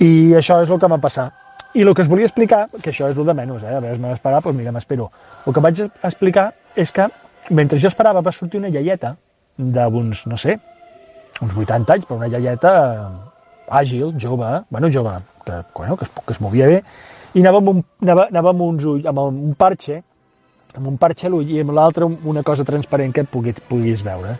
Speaker 6: I això és el que va passar. I el que us volia explicar, que això és el de menys, eh? a vegades m'he d'esperar, doncs mira, m'espero. El que vaig explicar és que mentre jo esperava va sortir una iaieta d'uns, no sé, uns 80 anys, però una iaieta eh, àgil, jove, bueno, jove, que, bueno, que, es, que es movia bé, i anava amb un, anava, anava amb uns ull, amb un parxe, amb un parxe a l'ull i amb l'altre un- una cosa transparent que et pugui, puguis veure.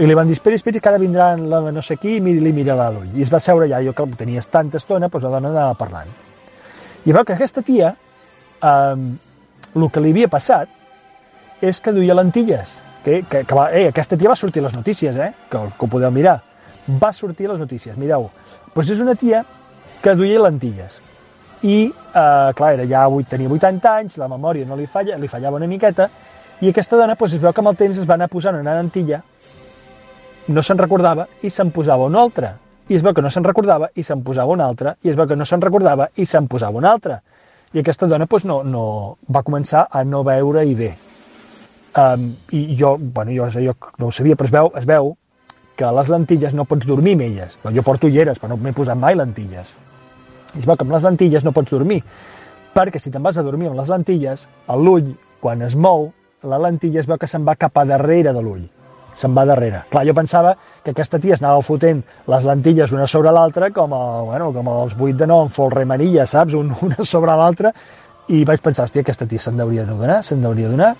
Speaker 6: I li van dir, espera, espera, que ara vindrà la no sé qui i miri- li mirarà a l'ull. I es va seure allà, jo que tenies tanta estona, doncs la dona anava parlant. I veu que aquesta tia, eh, el que li havia passat és que duia lentilles. Que, que, que va, eh, aquesta tia va sortir a les notícies, eh? Que, que ho podeu mirar. Va sortir a les notícies, mireu. Doncs és una tia que duia lentilles. I, eh, clar, era ja vuit- tenia 80 anys, la memòria no li falla, li fallava una miqueta, i aquesta dona doncs, es veu que amb el temps es va anar posant una lentilla, no se'n recordava i se'n posava una altra. I es veu que no se'n recordava i se'n posava una altra, i es veu que no se'n recordava i se'n posava una altra. I aquesta dona doncs, no, no, va començar a no veure-hi bé. Um, I jo, bueno, jo, jo no ho sabia, però es veu, es veu que les lentilles no pots dormir amb elles. Bueno, jo porto ulleres, però no m'he posat mai lentilles. I es veu que amb les lentilles no pots dormir, perquè si te'n vas a dormir amb les lentilles, a l'ull, quan es mou, la lentilla es veu que se'n va cap a darrere de l'ull. Se'n va darrere. Clar, jo pensava que aquesta tia es anava fotent les lentilles una sobre l'altra, com, a, bueno, com els 8 de 9 en folremanilla, saps? Un, una sobre l'altra, i vaig pensar, hòstia, aquesta tia se'n deuria donar, se'n deuria donar.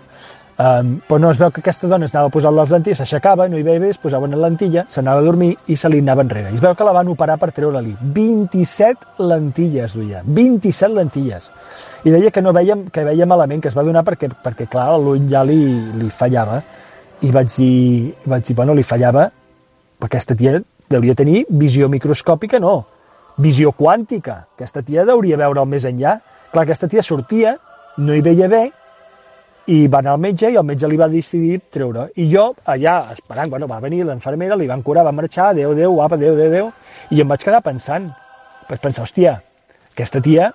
Speaker 6: Um, però no, es veu que aquesta dona es anava posant les lentilles, s'aixecava, no hi veia bé, es posava una lentilla, s'anava a dormir i se li anava enrere. I es veu que la van operar per treure-li 27 lentilles, duia, 27 lentilles. I deia que no veia, que veia malament, que es va donar perquè, perquè clar, l'ull ja li, li fallava. I vaig dir, vaig dir, bueno, li fallava, perquè aquesta tia deuria tenir visió microscòpica, no, visió quàntica. Aquesta tia deuria veure el més enllà. Clar, aquesta tia sortia, no hi veia bé, i va anar al metge i el metge li va decidir treure. I jo, allà, esperant, bueno, va venir l'infermera, li van curar, va marxar, adeu, adeu, apa, adeu, adeu, adeu, i em vaig quedar pensant, vaig pensar, hòstia, aquesta tia,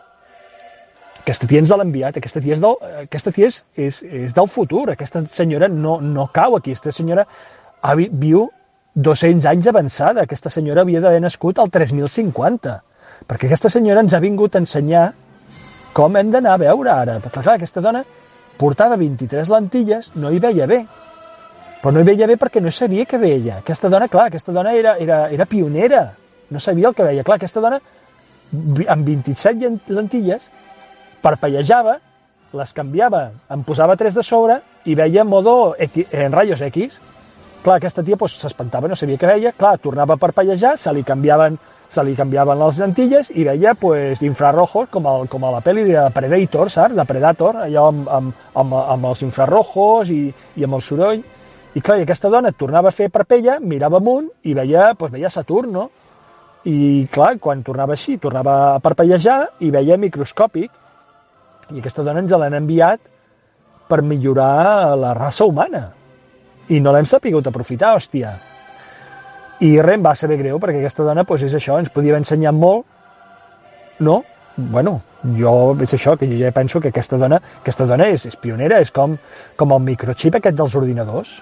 Speaker 6: aquesta tia ens l'ha enviat, aquesta tia, és del, aquesta tia és, és, és del futur, aquesta senyora no, no cau aquí, aquesta senyora ha, vi- viu 200 anys avançada, aquesta senyora havia d'haver nascut al 3050, perquè aquesta senyora ens ha vingut a ensenyar com hem d'anar a veure ara? Perquè clar, aquesta dona portava 23 lentilles, no hi veia bé. Però no hi veia bé perquè no sabia què veia. Aquesta dona, clar, aquesta dona era, era, era pionera. No sabia el que veia. Clar, aquesta dona, vi- amb 27 llen- lentilles, parpellejava, les canviava, en posava tres de sobre i veia en modo X, en rayos X. Clar, aquesta tia doncs, s'espantava, no sabia què veia, clar, tornava a parpellejar, se li canviaven, se li canviaven les lentilles i veia pues, infrarrojos com, el, com a la pel·li de Predator, saps? De Predator, allò amb, amb, amb, amb els infrarrojos i, i amb el soroll. I clar, i aquesta dona tornava a fer parpella, mirava amunt i veia, pues, veia Saturn, no? I clar, quan tornava així, tornava a parpellejar i veia microscòpic. I aquesta dona ens l'han enviat per millorar la raça humana. I no l'hem sapigut aprofitar, hòstia. I res, em va saber greu, perquè aquesta dona, doncs, és això, ens podia haver ensenyat molt, no? Bueno, jo, és això, que jo ja penso que aquesta dona, aquesta dona és, és pionera, és com, com el microxip aquest dels ordinadors,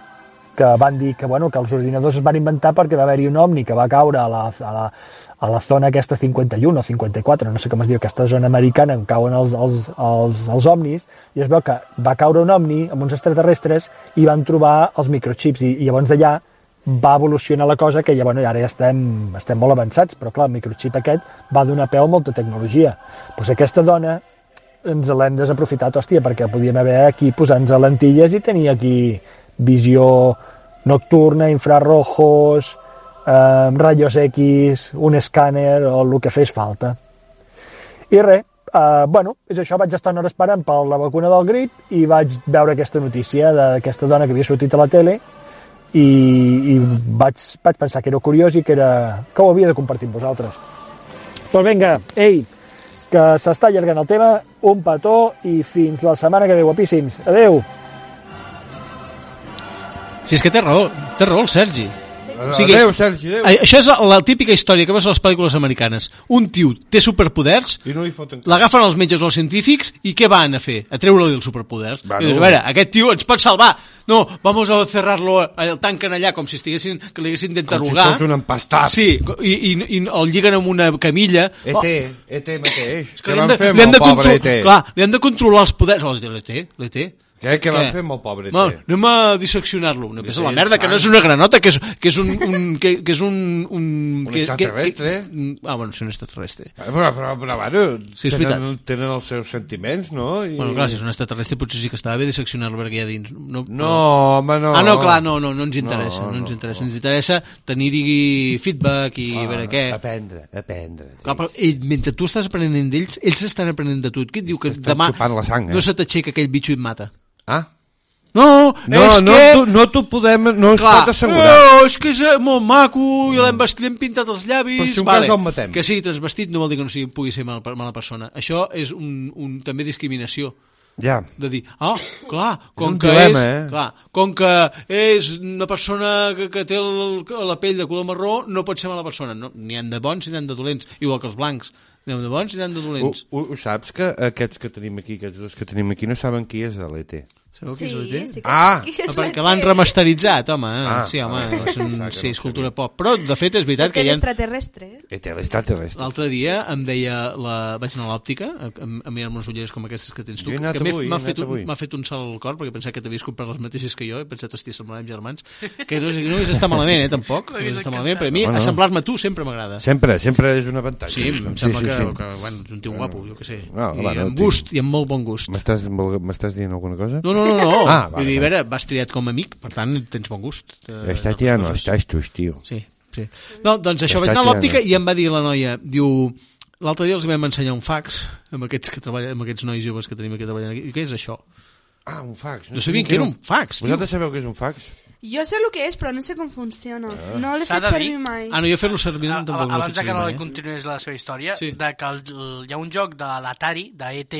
Speaker 6: que van dir que, bueno, que els ordinadors es van inventar perquè va haver-hi un ovni que va caure a la, a la, a la zona aquesta 51 o 54, no sé com es diu, aquesta zona americana on cauen els, els, els, els ovnis, i es veu que va caure un ovni amb uns extraterrestres i van trobar els microxips, i, i llavors d'allà va evolucionar la cosa que ja, bueno, ara ja estem, estem molt avançats, però clar, el microxip aquest va donar peu a molta tecnologia. Doncs aquesta dona ens l'hem desaprofitat, hòstia, perquè podíem haver aquí posant-nos lentilles i tenir aquí visió nocturna, infrarrojos, eh, rayos X, un escàner o el que fes falta. I res, eh, bueno, és això, vaig estar una hora esperant per la vacuna del grip i vaig veure aquesta notícia d'aquesta dona que havia sortit a la tele i, i vaig, vaig pensar que era curiós i que, era, que ho havia de compartir amb vosaltres. Doncs vinga, ei, que s'està allargant el tema. Un petó i fins la setmana que ve, guapíssims. Adeu!
Speaker 1: Si és que té raó, té raó el Sergi.
Speaker 2: Adéu,
Speaker 1: sigui-
Speaker 2: Sergi, adéu.
Speaker 1: Ai, Això és la típica història que veus a les pel·lícules americanes. Un tio té superpoders,
Speaker 2: I no li foten...
Speaker 1: l'agafen els metges o els científics i què van a fer? A treure-li els superpoders.
Speaker 2: Bueno.
Speaker 1: I dius, a veure, aquest tio ens pot salvar. No, vamos a cerrar-lo, eh, el tanquen allà com si estiguessin, que li haguessin
Speaker 2: Com si
Speaker 1: d'interrogar.
Speaker 2: fos un empastat.
Speaker 1: Sí, i, i, i el lliguen amb una camilla. Oh,
Speaker 2: ET, ET E mateix.
Speaker 1: que
Speaker 2: Eh, Què
Speaker 1: li han
Speaker 2: van
Speaker 1: de-
Speaker 2: fer
Speaker 1: li han
Speaker 2: amb
Speaker 1: de
Speaker 2: el pobre E
Speaker 1: contro-
Speaker 2: ET?
Speaker 1: Clar, li han de controlar els poders. Oh, L'ET, l'ET.
Speaker 2: Què, què van
Speaker 1: Què?
Speaker 2: fer amb el pobre E ET?
Speaker 1: No, anem a disseccionar-lo. No, és la
Speaker 2: Sí,
Speaker 1: merda, que no és una granota, que és, que és un... un que, que és un... Un,
Speaker 2: Un
Speaker 1: que,
Speaker 2: extraterrestre.
Speaker 1: Que, que, ah, bueno, és un extraterrestre.
Speaker 2: Eh, Però, però, però bueno,
Speaker 1: Sí, és
Speaker 2: tenen,
Speaker 1: veritat.
Speaker 2: tenen els seus sentiments, no? I...
Speaker 1: Bueno, clar, si és un extraterrestre potser sí que estava bé disseccionar-lo perquè hi ha dins. No,
Speaker 2: No, home, no.
Speaker 1: Ah, no, clar, no, no, no ens interessa, no,
Speaker 2: No,
Speaker 1: ens
Speaker 2: no.
Speaker 1: interessa. Ens interessa tenir-hi feedback i a veure què.
Speaker 2: Aprendre, aprendre. Sí.
Speaker 1: Clar, però ell, mentre tu estàs aprenent d'ells, ells estan aprenent de tu. Qui et diu que
Speaker 2: T'estan
Speaker 1: demà
Speaker 2: xupant la sang, eh?
Speaker 1: no se t'aixeca aquell bitxo i et mata?
Speaker 2: Ah?
Speaker 1: No,
Speaker 2: No,
Speaker 1: és
Speaker 2: no,
Speaker 1: que...
Speaker 2: tu- no t'ho podem, no es pot assegurar.
Speaker 1: No, és que és eh, molt maco i l'hem vestit, l'hem pintat els llavis...
Speaker 2: Però si un cas el matem.
Speaker 1: Que sí, transvestit no vol dir que no sigui, pugui ser mala, mala persona. Això és un, un, també discriminació
Speaker 2: Ja.
Speaker 1: de dir, ah, clar, com
Speaker 2: un
Speaker 1: que
Speaker 2: dilema,
Speaker 1: és,
Speaker 2: eh?
Speaker 1: clar, com que és una persona que, que té el, la pell de color marró, no pot ser mala persona. No, n'hi han de bons i n'hi han de dolents, igual que els blancs. N'hi han de bons i n'hi han de
Speaker 2: Ho,
Speaker 1: dolents.
Speaker 2: ho, ho saps que aquests que tenim aquí, aquests dos que tenim aquí, no saben qui és de l'ET.
Speaker 1: Sabeu qui
Speaker 7: Sí,
Speaker 1: és el Jay?
Speaker 7: sí que,
Speaker 2: Ah,
Speaker 7: sí que és
Speaker 1: perquè
Speaker 7: la
Speaker 1: l'han
Speaker 7: T.
Speaker 1: remasteritzat, home. Ah,
Speaker 2: Ah,
Speaker 1: sí, home,
Speaker 2: vale.
Speaker 1: és, un,
Speaker 2: Pensava que
Speaker 1: sí,
Speaker 2: no
Speaker 1: és cultura pop. Però, de fet, és veritat que
Speaker 7: Perquè
Speaker 1: hi
Speaker 7: és
Speaker 1: ha...
Speaker 7: extraterrestre. eh?
Speaker 2: ET, l'extraterrestre.
Speaker 1: L'altre dia em deia, la... vaig anar a l'òptica a, a, a mirar-me unes ulleres com aquestes que tens tu,
Speaker 2: Jo he
Speaker 1: que
Speaker 2: anat
Speaker 1: m'he-
Speaker 2: avui,
Speaker 1: m'ha
Speaker 2: he anat
Speaker 1: fet, un,
Speaker 2: avui.
Speaker 1: m'ha fet un salt al cor, perquè pensava que t'havies comprat les mateixes que jo, he pensat, hòstia, semblarem germans, que no, és- no hauria d'estar malament, eh, tampoc, no hauria d'estar malament, però a mi
Speaker 2: Bueno.
Speaker 1: assemblar-me a tu sempre m'agrada.
Speaker 2: Sempre, sempre és un avantatge.
Speaker 1: Sí, em sembla que, que bueno, és un tio guapo, jo què sé,
Speaker 2: No,
Speaker 1: i
Speaker 2: va, no,
Speaker 1: amb
Speaker 2: tio.
Speaker 1: gust, i amb molt bon gust.
Speaker 2: M'estàs vol- m'estàs dient alguna cosa?
Speaker 1: No, no, no, no.
Speaker 2: Ah,
Speaker 1: Vull
Speaker 2: vale,
Speaker 1: dir, a
Speaker 2: vale.
Speaker 1: veure, vas triat com a amic, per tant, tens bon gust. Eh,
Speaker 2: Estàs
Speaker 1: en
Speaker 2: tirant,
Speaker 1: les coses.
Speaker 2: estàs tus, tio.
Speaker 1: Sí, sí.
Speaker 4: Mm.
Speaker 1: No, doncs això,
Speaker 2: Està eh?
Speaker 1: vaig anar a l'òptica
Speaker 2: tirant.
Speaker 1: i em va dir la noia, diu... L'altre dia els vam ensenyar un fax amb aquests, que treballa, amb aquests nois joves que tenim aquí treballant aquí. I què és això?
Speaker 2: Ah, un fax.
Speaker 1: No sabien que era un fax, tio.
Speaker 2: Vosaltres sabeu que és un fax?
Speaker 3: Jo sé el que és, però no sé com funciona. No l'he
Speaker 4: S'ha
Speaker 3: fet
Speaker 4: de dir-
Speaker 3: servir mai.
Speaker 1: Ah, no, jo fer-lo servir no,
Speaker 4: A-
Speaker 1: tampoc no ho
Speaker 4: abans
Speaker 1: faig
Speaker 4: de que
Speaker 1: servir
Speaker 4: no
Speaker 1: mai, eh?
Speaker 4: continués la seva història,
Speaker 1: Sí.
Speaker 4: de que el, el- hi ha un joc de l'Atari, d'ET,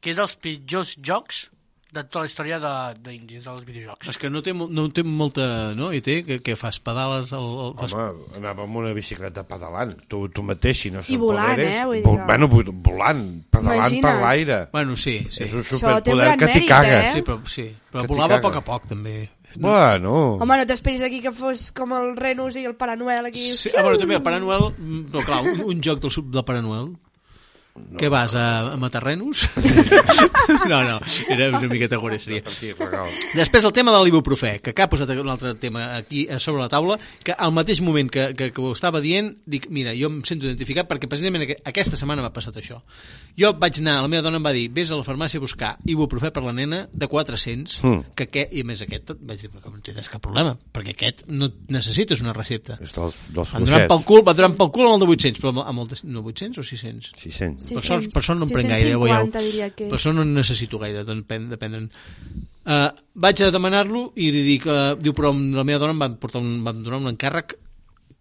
Speaker 4: que és dels pitjors jocs de tota la història de, de, dins dels videojocs.
Speaker 1: És que no té, mo- no té molta... No? I té que, que fas pedales... El, el, fas...
Speaker 2: Home, anava amb una bicicleta pedalant. Tu, tu mateix, si no
Speaker 3: I volant, eh, vull dir
Speaker 2: Vol,
Speaker 3: que-
Speaker 2: bueno, vo- volant, pedalant per
Speaker 3: Imagina't.
Speaker 2: l'aire.
Speaker 1: Bueno, sí, sí.
Speaker 2: És un
Speaker 3: Això té
Speaker 2: superpoder
Speaker 3: gran
Speaker 2: que t'hi
Speaker 3: mèrit,
Speaker 2: cagues.
Speaker 1: Sí,
Speaker 3: eh?
Speaker 1: però, sí. però
Speaker 2: Eh? Que t'hi
Speaker 1: volava a
Speaker 2: caga.
Speaker 1: poc a poc, també.
Speaker 2: Bueno,
Speaker 3: Home, no t'esperis aquí que fos com el Renus i el Pare Noel aquí.
Speaker 1: Sí, a veure, també el Pare Noel... mm, Però clar, un, un joc del, sub del Pare Noel... No. Què vas, a, a matar renos? no, no, era una miqueta gore, seria.
Speaker 2: sí, regal.
Speaker 1: Després el tema de l'ibuprofè, que que ha posat un altre tema aquí a sobre la taula, que al mateix moment que, que, que ho estava dient, dic, mira, jo em sento identificat perquè precisament aqu- aquesta setmana m'ha passat això. Jo vaig anar, la meva dona em va dir, vés a la farmàcia a buscar ibuprofè per la nena de 400,
Speaker 2: Mm.
Speaker 1: mm. que, que, i a més aquest, vaig dir, però no tens cap problema, perquè aquest no necessites una recepta.
Speaker 2: És dels, dels
Speaker 1: Em donant pel
Speaker 2: fluixets.
Speaker 1: cul, va donant pel cul amb el de 800, però amb el- amb el de, no 800 o 600?
Speaker 2: 600.
Speaker 3: Sí,
Speaker 1: Per
Speaker 3: sí,
Speaker 1: sort, per sort no em prenc gaire, ja ho
Speaker 3: 650
Speaker 1: veieu.
Speaker 3: diria que és.
Speaker 1: Per sort no en necessito gaire, doncs pen- depenen. Uh, vaig a demanar-lo i li dic, uh, diu, però amb la meva dona em va, portar un, va donar un encàrrec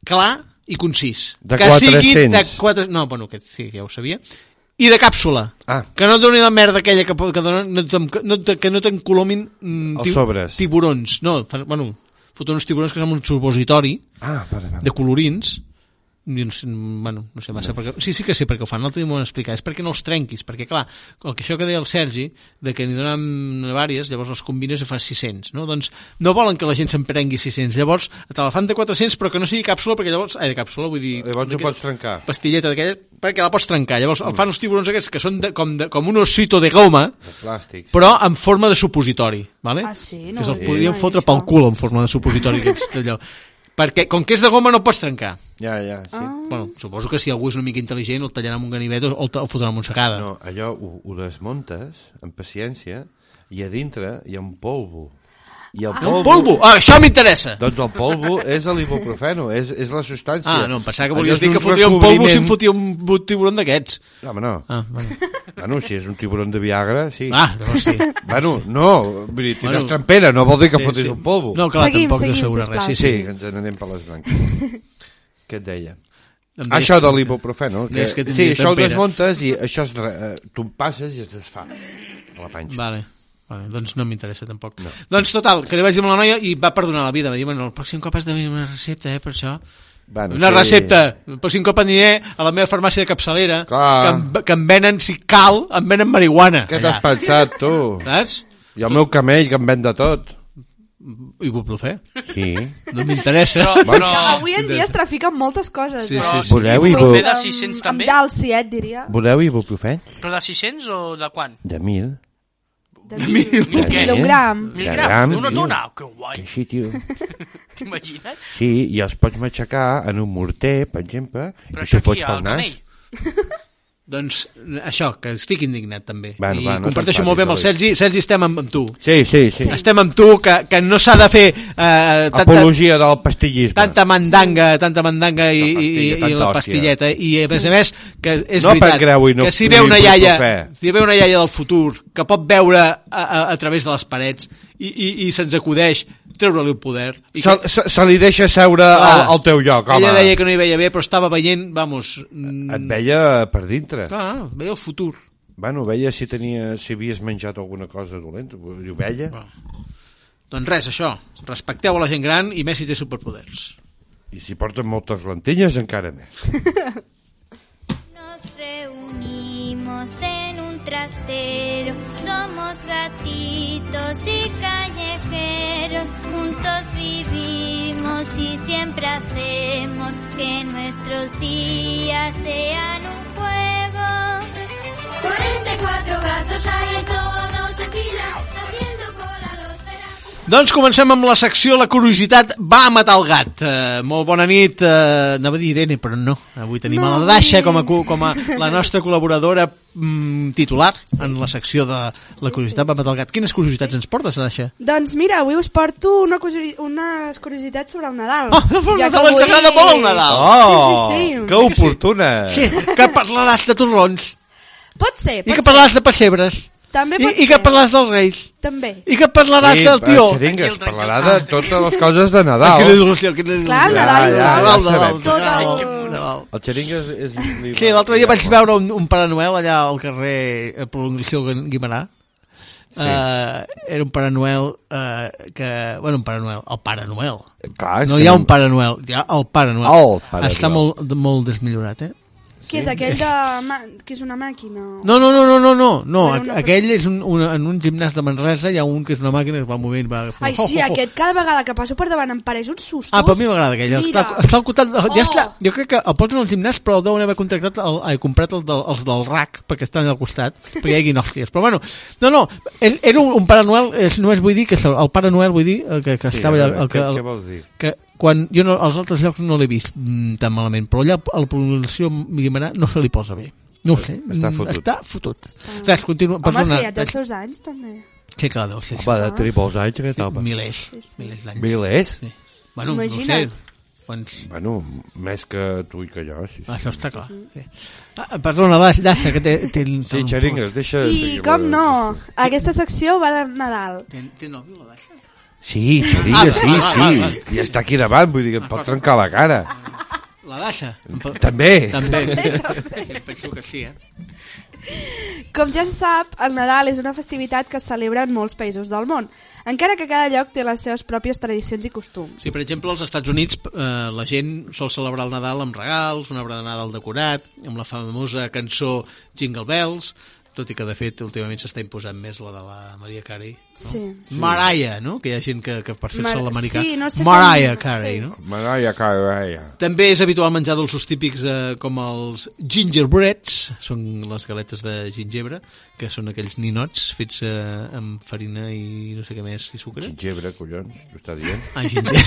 Speaker 1: clar i concís.
Speaker 2: De
Speaker 1: que sigui de
Speaker 2: 400.
Speaker 1: 4... No, bueno, que sí, ja ho sabia. I de càpsula.
Speaker 2: Ah.
Speaker 1: Que no et doni la merda aquella que, po- que, donen, no te, no te, que no t'encolomin mm,
Speaker 2: Els
Speaker 1: ti-
Speaker 2: sobres.
Speaker 1: tiburons. No, fan, bueno, foten uns tiburons que són un supositori
Speaker 2: Ah, vale, vale.
Speaker 1: de colorins i uns, bueno, no sé massa perquè, sí, sí que sé perquè ho fan, l'altre dia m'ho van explicar és perquè no els trenquis, perquè clar, el que això que deia el Sergi, de que n'hi donen vàries, llavors les combines i fas 600 no? doncs no volen que la gent se'n prengui 600 llavors te la fan de 400 però que no sigui càpsula perquè llavors, ai de càpsula vull dir
Speaker 2: Eh, Llavors ho
Speaker 1: d'aquella
Speaker 2: pots Mm. trencar.
Speaker 1: pastilleta d'aquella, perquè la pots trencar llavors el fan els tiburons aquests que són de, com, de, com un osito de goma
Speaker 2: De plàstic.
Speaker 1: però en forma de supositori, vale?
Speaker 3: Ah, sí? No
Speaker 1: eh? que
Speaker 3: ho
Speaker 1: se'ls
Speaker 3: havia
Speaker 1: podrien
Speaker 3: vist,
Speaker 1: fotre
Speaker 3: això.
Speaker 1: pel cul en forma de supositori aquests d'allò. Perquè com que és de goma no pots trencar.
Speaker 2: Ja, ja, sí.
Speaker 1: Bueno, suposo que si algú és una mica intel·ligent el tallarà amb un ganivet o el, ta- el fotran amb una secada.
Speaker 2: No, allò ho, ho desmuntes amb paciència i a dintre hi ha un polvo. I el
Speaker 1: No, polvo! Ah, això m'interessa!
Speaker 2: Doncs el polvo és l'ibuprofeno, és, és la substància.
Speaker 1: Ah, no, em pensava que
Speaker 2: Allò
Speaker 1: volies
Speaker 2: és
Speaker 1: dir
Speaker 2: un
Speaker 1: que fotria un polvo si em
Speaker 2: recobriment-
Speaker 1: fotia un bu- tiburon d'aquests.
Speaker 2: No, home, no.
Speaker 1: Ah, bueno.
Speaker 2: Bueno, si és un tiburon de Viagra, sí.
Speaker 1: Ah, no, sí.
Speaker 2: Bueno, no, vull dir, tindràs
Speaker 1: Bueno.
Speaker 2: trampera, no vol dir que
Speaker 1: Sí,
Speaker 2: fotis
Speaker 1: sí.
Speaker 2: un polvo.
Speaker 1: No, clar,
Speaker 3: Seguim,
Speaker 1: tampoc
Speaker 3: seguim,
Speaker 1: no assegura res.
Speaker 3: sisplau.
Speaker 1: Sí,
Speaker 2: Sí,
Speaker 1: sí.
Speaker 2: que ens n'anem per les branques. Què et deia?
Speaker 1: Em deia-
Speaker 2: Això de l'ibuprofè, no?
Speaker 1: Deies que
Speaker 2: sí,
Speaker 1: tindria
Speaker 2: això ho
Speaker 1: tempera.
Speaker 2: desmuntes i això es, re- eh, tu passes i es desfà a la panxa.
Speaker 1: Vale. Vale, doncs no m'interessa tampoc. No. Doncs total, que li vaig dir amb la noia i va perdonar la vida. Va dir, bueno, el pròxim cop has de venir amb una recepta, eh, per això.
Speaker 2: Bueno,
Speaker 1: Una
Speaker 2: sí.
Speaker 1: recepta. El pròxim cop aniré a la meva farmàcia de capçalera,
Speaker 2: Clar.
Speaker 1: que em, que em venen, si cal, em venen marihuana.
Speaker 2: Què
Speaker 1: allà.
Speaker 2: t'has pensat, tu?
Speaker 1: Saps?
Speaker 2: I el meu camell, que em ven de tot.
Speaker 1: Ibuprofè.
Speaker 2: Sí.
Speaker 1: No m'interessa.
Speaker 4: Però,
Speaker 1: No.
Speaker 4: però,
Speaker 3: Avui en dia es trafiquen moltes coses.
Speaker 1: Sí,
Speaker 3: eh?
Speaker 1: sí, sí.
Speaker 2: Voleu
Speaker 4: Però
Speaker 2: ibu...
Speaker 4: fer de 600 també?
Speaker 3: Amb d'alci, eh, et diria.
Speaker 2: Voleu ibuprofè?
Speaker 4: Però de 600 o de quant?
Speaker 2: De mil.
Speaker 3: De mil.
Speaker 4: Mil
Speaker 2: De
Speaker 4: què?
Speaker 3: D'un gram.
Speaker 4: Mil
Speaker 2: De
Speaker 4: grams?
Speaker 2: gram,
Speaker 4: D'una
Speaker 2: tio.
Speaker 4: tona? Que guai,
Speaker 2: Que així, tio.
Speaker 4: t'imagines?
Speaker 2: Sí, i els pots matxacar en un morter, per exemple,
Speaker 4: Però
Speaker 2: i tu
Speaker 4: això aquí,
Speaker 2: fots pel
Speaker 4: al
Speaker 2: nas.
Speaker 4: canell.
Speaker 1: Doncs això, que estic indignat també.
Speaker 2: Bueno,
Speaker 1: I
Speaker 2: va, no
Speaker 1: comparteixo
Speaker 2: t'enfadis,
Speaker 1: molt bé amb el
Speaker 2: Eloi.
Speaker 1: Sergi. Sergi, estem amb, amb tu.
Speaker 2: Sí, sí, sí.
Speaker 1: Estem amb tu, que, que no s'ha de fer eh, tanta,
Speaker 2: Apologia del pastillisme.
Speaker 1: tanta mandanga, tanta mandanga i, i, i,
Speaker 2: pastilla,
Speaker 1: i
Speaker 2: tanta
Speaker 1: la
Speaker 2: hòstia.
Speaker 1: pastilleta. I a més a més, que és
Speaker 2: No
Speaker 1: veritat,
Speaker 2: prengueu-hi, no-
Speaker 1: que si
Speaker 2: no
Speaker 1: ve una
Speaker 2: hi
Speaker 1: iaia,
Speaker 2: porto fe.
Speaker 1: si ve una iaia del futur que pot veure a, a, a través de les parets i, i, i se'ns acudeix treure-li el poder... I
Speaker 2: Se, se, se li deixa seure al,
Speaker 1: Clar.
Speaker 2: al teu lloc, home.
Speaker 1: Ella deia que no hi veia bé, però estava veient, vamos... mm,
Speaker 2: Et veia per dintre.
Speaker 1: Clar, veia el futur.
Speaker 2: Bueno, veia si tenia, si havies menjat alguna cosa dolenta. Ho veia.
Speaker 1: Doncs res, això. Respecteu a la gent gran i més si té superpoders.
Speaker 2: I si porten moltes lentilles, encara més.
Speaker 7: Nos reunimos en un trastero, somos gatitos y callejeros, juntos vivimos y siempre hacemos que nuestros días sean un juego. 44 este gatos hay todos en fila, haciendo cola los verás.
Speaker 1: Doncs comencem amb la secció La curiositat va matar el gat. Eh, molt bona nit, eh, anava a dir Irene, però no. Avui tenim no,
Speaker 3: No,
Speaker 1: la Dasha
Speaker 3: Irene.
Speaker 1: com a, cu- com a la nostra col·laboradora mm, titular en la secció de La curiositat va matar el gat. Quines curiositats ens portes, Dasha?
Speaker 3: Doncs mira, avui us porto una curiosi- unes curiositats sobre el Nadal.
Speaker 1: Oh, el
Speaker 3: Ja que
Speaker 1: Nadal, ens
Speaker 3: avui-
Speaker 1: agrada molt el Nadal.
Speaker 3: Oh, Sí, sí, sí.
Speaker 2: Que oportuna!
Speaker 1: Sí, que parlaràs de torrons,
Speaker 3: Pot ser,
Speaker 1: i
Speaker 3: pot
Speaker 1: que
Speaker 3: ser.
Speaker 1: parlaràs de pessebres,
Speaker 3: També
Speaker 1: i,
Speaker 3: pot
Speaker 1: i que
Speaker 3: ser.
Speaker 1: parlaràs dels reis,
Speaker 3: També.
Speaker 1: i que parlaràs del tio.
Speaker 2: Xeringues,
Speaker 4: Tranquil, tranquil.
Speaker 2: parlarà de totes les coses de Nadal.
Speaker 1: Quina il·lusió, quina il·lusió.
Speaker 3: Clar,
Speaker 2: Nadal, Ja, ja, Nadal, ja sabem.
Speaker 3: Tot el-
Speaker 1: Nadal.
Speaker 2: El xeringues és...
Speaker 1: Sí, l'altre dia vaig veure un, un Pare Noel allà al carrer eh, Prolongació Gu- Guimarà. Sí. Uh, era un Pare Noel uh, que... Bueno, un Pare Noel, el Pare Noel.
Speaker 2: Clar, és
Speaker 1: no
Speaker 2: que Ah,
Speaker 1: hi ha un Pare Noel, hi ha el Pare Noel.
Speaker 2: El Pare
Speaker 1: Està
Speaker 2: Noel.
Speaker 1: molt, molt desmillorat, eh?
Speaker 3: Que és aquell de... Ma... que és una màquina.
Speaker 1: No, no, no, no, no, no, no.
Speaker 3: Era
Speaker 1: aqu-
Speaker 3: una
Speaker 1: aquell és un, un, en un gimnàs de Manresa, hi ha un que és una màquina que es va movent, va...
Speaker 3: Ai, sí, aquest cada vegada que passo per davant em pareix un susto.
Speaker 1: Ah, però a mi m'agrada aquell. Està,
Speaker 3: Doncs, Mira.
Speaker 1: està al costat... De, ja
Speaker 3: Oh.
Speaker 1: està, jo crec que el posen al gimnàs, però el deuen haver contractat el, eh, comprat el del, els del RAC, perquè estan al costat, perquè hi haguin hòsties. Però bueno, no, no, ell- era un, un Pare Noel, és, només vull dir que se- el Pare Noel, vull dir, eh, que, que estava allà... El, que,
Speaker 2: Què,
Speaker 1: el,
Speaker 2: vols dir?
Speaker 1: que quan jo no, als altres llocs no l'he vist mm, tan malament, però allà a la pronunciació Guimarà no se li posa bé. No ho sé.
Speaker 2: Està
Speaker 1: mm,
Speaker 2: fotut.
Speaker 1: Està fotut. Res, continua.
Speaker 3: Home, és
Speaker 1: perdona.
Speaker 3: que ja té els seus anys, també.
Speaker 1: Sí, clar, deu ser.
Speaker 2: Va, de triples anys que
Speaker 1: això.
Speaker 2: topa.
Speaker 1: Milers.
Speaker 3: sí.
Speaker 1: Milers d'anys.
Speaker 2: Milers?
Speaker 1: Sí. Bueno, no
Speaker 3: Imagina't.
Speaker 1: ho sé. Quants,
Speaker 2: Bueno, més que tu i que jo, sí. sí.
Speaker 1: Això està clar. Sí. Ah, perdona, va, Llaça, que té... té
Speaker 2: Sí, xeringues, deixa... de
Speaker 3: I
Speaker 2: seguir
Speaker 3: com
Speaker 2: la-
Speaker 3: no, aquesta secció va de Nadal.
Speaker 1: Té, té nòvio, la Llaça?
Speaker 2: Sí,
Speaker 1: Ah,
Speaker 2: xeringues, sí,
Speaker 1: va, va, va,
Speaker 2: sí. I està aquí davant, vull dir que et pot trencar la cara.
Speaker 3: Ah.
Speaker 1: La Llaça?
Speaker 2: També.
Speaker 1: També. També. Penso que sí, eh?
Speaker 3: Com ja se sap, el Nadal és una festivitat que es celebra en molts països del món, encara que cada lloc té les seves pròpies tradicions i costums.
Speaker 1: Sí, per exemple, als Estats Units eh, la gent sol celebrar el Nadal amb regals, un arbre de Nadal decorat, amb la famosa cançó Jingle Bells, tot i que, de fet, últimament s'està imposant més la de la Maria Carey.
Speaker 3: Sí.
Speaker 1: Mariah, no? Que hi ha gent que, que per fer-se
Speaker 3: Mar-
Speaker 1: l'americà.
Speaker 3: sí, no sé com-
Speaker 1: Mariah Carey,
Speaker 3: sí.
Speaker 1: no?
Speaker 2: Maraia, caraia.
Speaker 1: També és habitual menjar dolços típics eh, com els gingerbreads, són les galetes de gingebre, que són aquells ninots fets eh, amb farina i no sé què més, i sucre.
Speaker 2: Gingebre, collons, ho està dient.
Speaker 1: Ah, gingebre.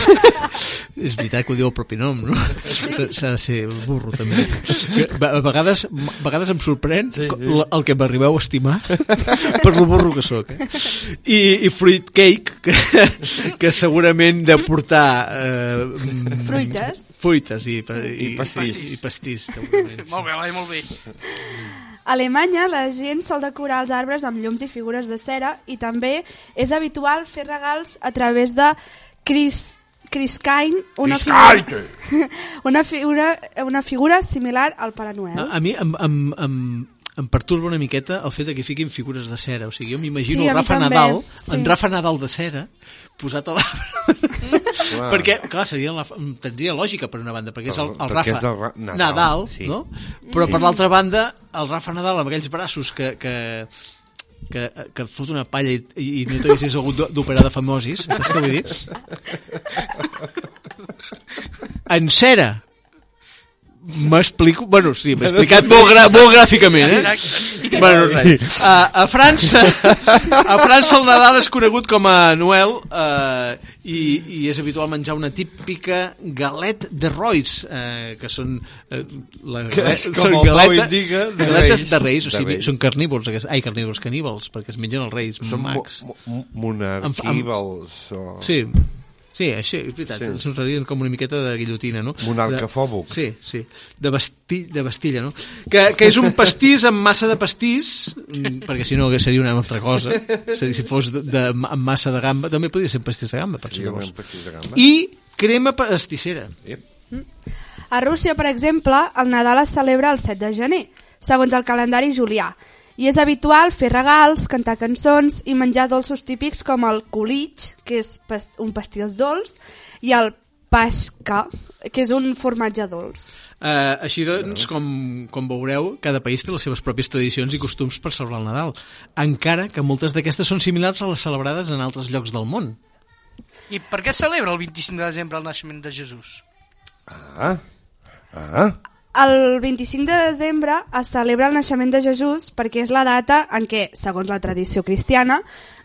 Speaker 1: és veritat que ho diu el propi nom, no? S'ha de ser burro, també. Que A a vegades, a vegades em sorprèn sí, sí. el que m'arribeu a estimar per lo burro que sóc. Eh? I, I fruit cake, que, que segurament de portar... Eh,
Speaker 3: Fruites.
Speaker 1: Fruites i, pa- i,
Speaker 2: I pastís.
Speaker 1: I, i pastís segurament.
Speaker 4: Molt bé, va, molt bé.
Speaker 3: A Alemanya la gent sol decorar els arbres amb llums i figures de cera i també és habitual fer regals a través de cris Chris Kine, una
Speaker 2: Chris
Speaker 3: figura,
Speaker 2: Kine!
Speaker 3: una, figura, una figura similar al Pare Noel.
Speaker 1: A, a mi em, em, em, em perturba una miqueta el fet de que fiquin figures de cera. O sigui, jo m'imagino
Speaker 3: Sí, a
Speaker 1: el
Speaker 3: mi
Speaker 1: Rafa
Speaker 3: també,
Speaker 1: Nadal,
Speaker 3: sí.
Speaker 1: en Rafa Nadal de cera, posat a l'arbre.
Speaker 2: Clar.
Speaker 1: perquè, clar, seria la, tindria lògica per una banda, perquè és el, el Rafa
Speaker 2: Perquè és el Ra- Nadal,
Speaker 1: Nadal
Speaker 2: sí.
Speaker 1: no? Però
Speaker 2: Sí.
Speaker 1: per l'altra banda, el Rafa Nadal amb aquells braços que... que que, que et fot una palla i, i no t'haguessis hagut d'o- d'operar de famosis, saps què vull dir? En cera. M'explico... Bueno, sí, m'he explicat molt, gra, molt gràficament, eh?
Speaker 4: Exacte.
Speaker 1: Bueno, res. A, a França, a França el Nadal és conegut com a Noel eh, i, i és habitual menjar una típica galette de Rois, eh, que són eh, la,
Speaker 2: Que és com
Speaker 1: són
Speaker 2: el Pau indica, de
Speaker 1: galetes
Speaker 2: reis.
Speaker 1: de reis, o
Speaker 2: De
Speaker 1: sigui,
Speaker 2: reis.
Speaker 1: són carnívors, aquests, ai, carnívors, caníbals, perquè es mengen els reis, són
Speaker 2: Són mo-
Speaker 1: macs.
Speaker 2: mo- mo- monarquívals o...
Speaker 1: Sí, sí, així, és veritat, sí. se'ns reien com una miqueta de guillotina, no?
Speaker 2: Monarcafòbic.
Speaker 1: De, sí, sí, de, basti, de Bastilla, no? Que, que és un pastís amb massa de pastís, mm, perquè si no seria una altra cosa, seria, si fos de, de, amb massa de gamba, també podria ser pastís de gamba, per si
Speaker 2: Digue'm
Speaker 1: vols.
Speaker 2: un pastís de gamba.
Speaker 1: I crema pastissera.
Speaker 2: Ep.
Speaker 3: A Rússia, per exemple, el Nadal es celebra el 7 de gener, segons el calendari julià, i és habitual fer regals, cantar cançons i menjar dolços típics com el kulich, que és pas- un pastís dolç, i el pashka, que és un formatge dolç.
Speaker 1: Eh, així doncs, com, com veureu, cada país té les seves pròpies tradicions i costums per celebrar el Nadal, encara que moltes d'aquestes són similars a les celebrades en altres llocs del món.
Speaker 4: I per què celebra el 25 de desembre el naixement de Jesús?
Speaker 2: Ah, ah.
Speaker 3: El 25 de desembre es celebra el naixement de Jesús perquè és la data en què, segons la tradició cristiana,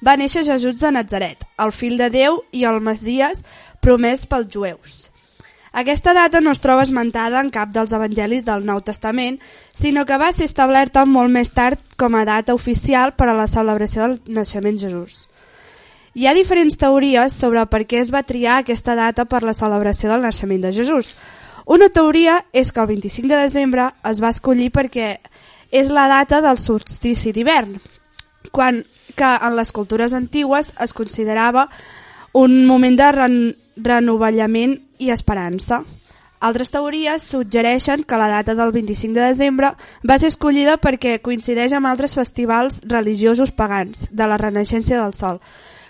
Speaker 3: va néixer Jesús de Nazaret, el fill de Déu i el Messies promès pels jueus. Aquesta data no es troba esmentada en cap dels evangelis del Nou Testament, sinó que va ser establerta molt més tard com a data oficial per a la celebració del naixement de Jesús. Hi ha diferents teories sobre per què es va triar aquesta data per la celebració del naixement de Jesús. Una teoria és que el 25 de desembre es va escollir perquè és la data del solstici d'hivern, quan que en les cultures antigues es considerava un moment de ren renovellament i esperança. Altres teories suggereixen que la data del 25 de desembre va ser escollida perquè coincideix amb altres festivals religiosos pagans de la Renaixença del Sol,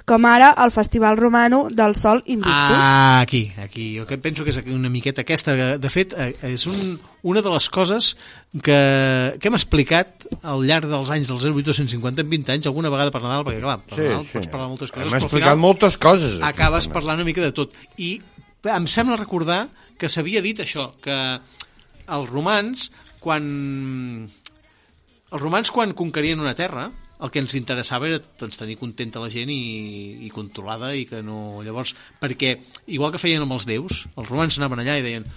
Speaker 3: com ara el Festival Romano del Sol Invictus.
Speaker 1: Ah, aquí, aquí. Jo que penso que és una miqueta aquesta. De fet, eh, és un, una de les coses que, que hem explicat al llarg dels anys del 0850 en 20 anys, alguna vegada per Nadal, perquè clar, per
Speaker 2: Sí,
Speaker 1: Nadal
Speaker 2: sí.
Speaker 1: pots parlar moltes coses,
Speaker 2: Hem
Speaker 1: però al
Speaker 2: explicat
Speaker 1: final
Speaker 2: moltes coses. aquí.
Speaker 1: acabes parlant una mica de tot. I em sembla recordar que s'havia dit això, que els romans, quan... Els romans, quan conquerien una terra, el que ens interessava era doncs, tenir contenta la gent i, i controlada i que no... Llavors, perquè, igual que feien amb els déus, els romans anaven allà i deien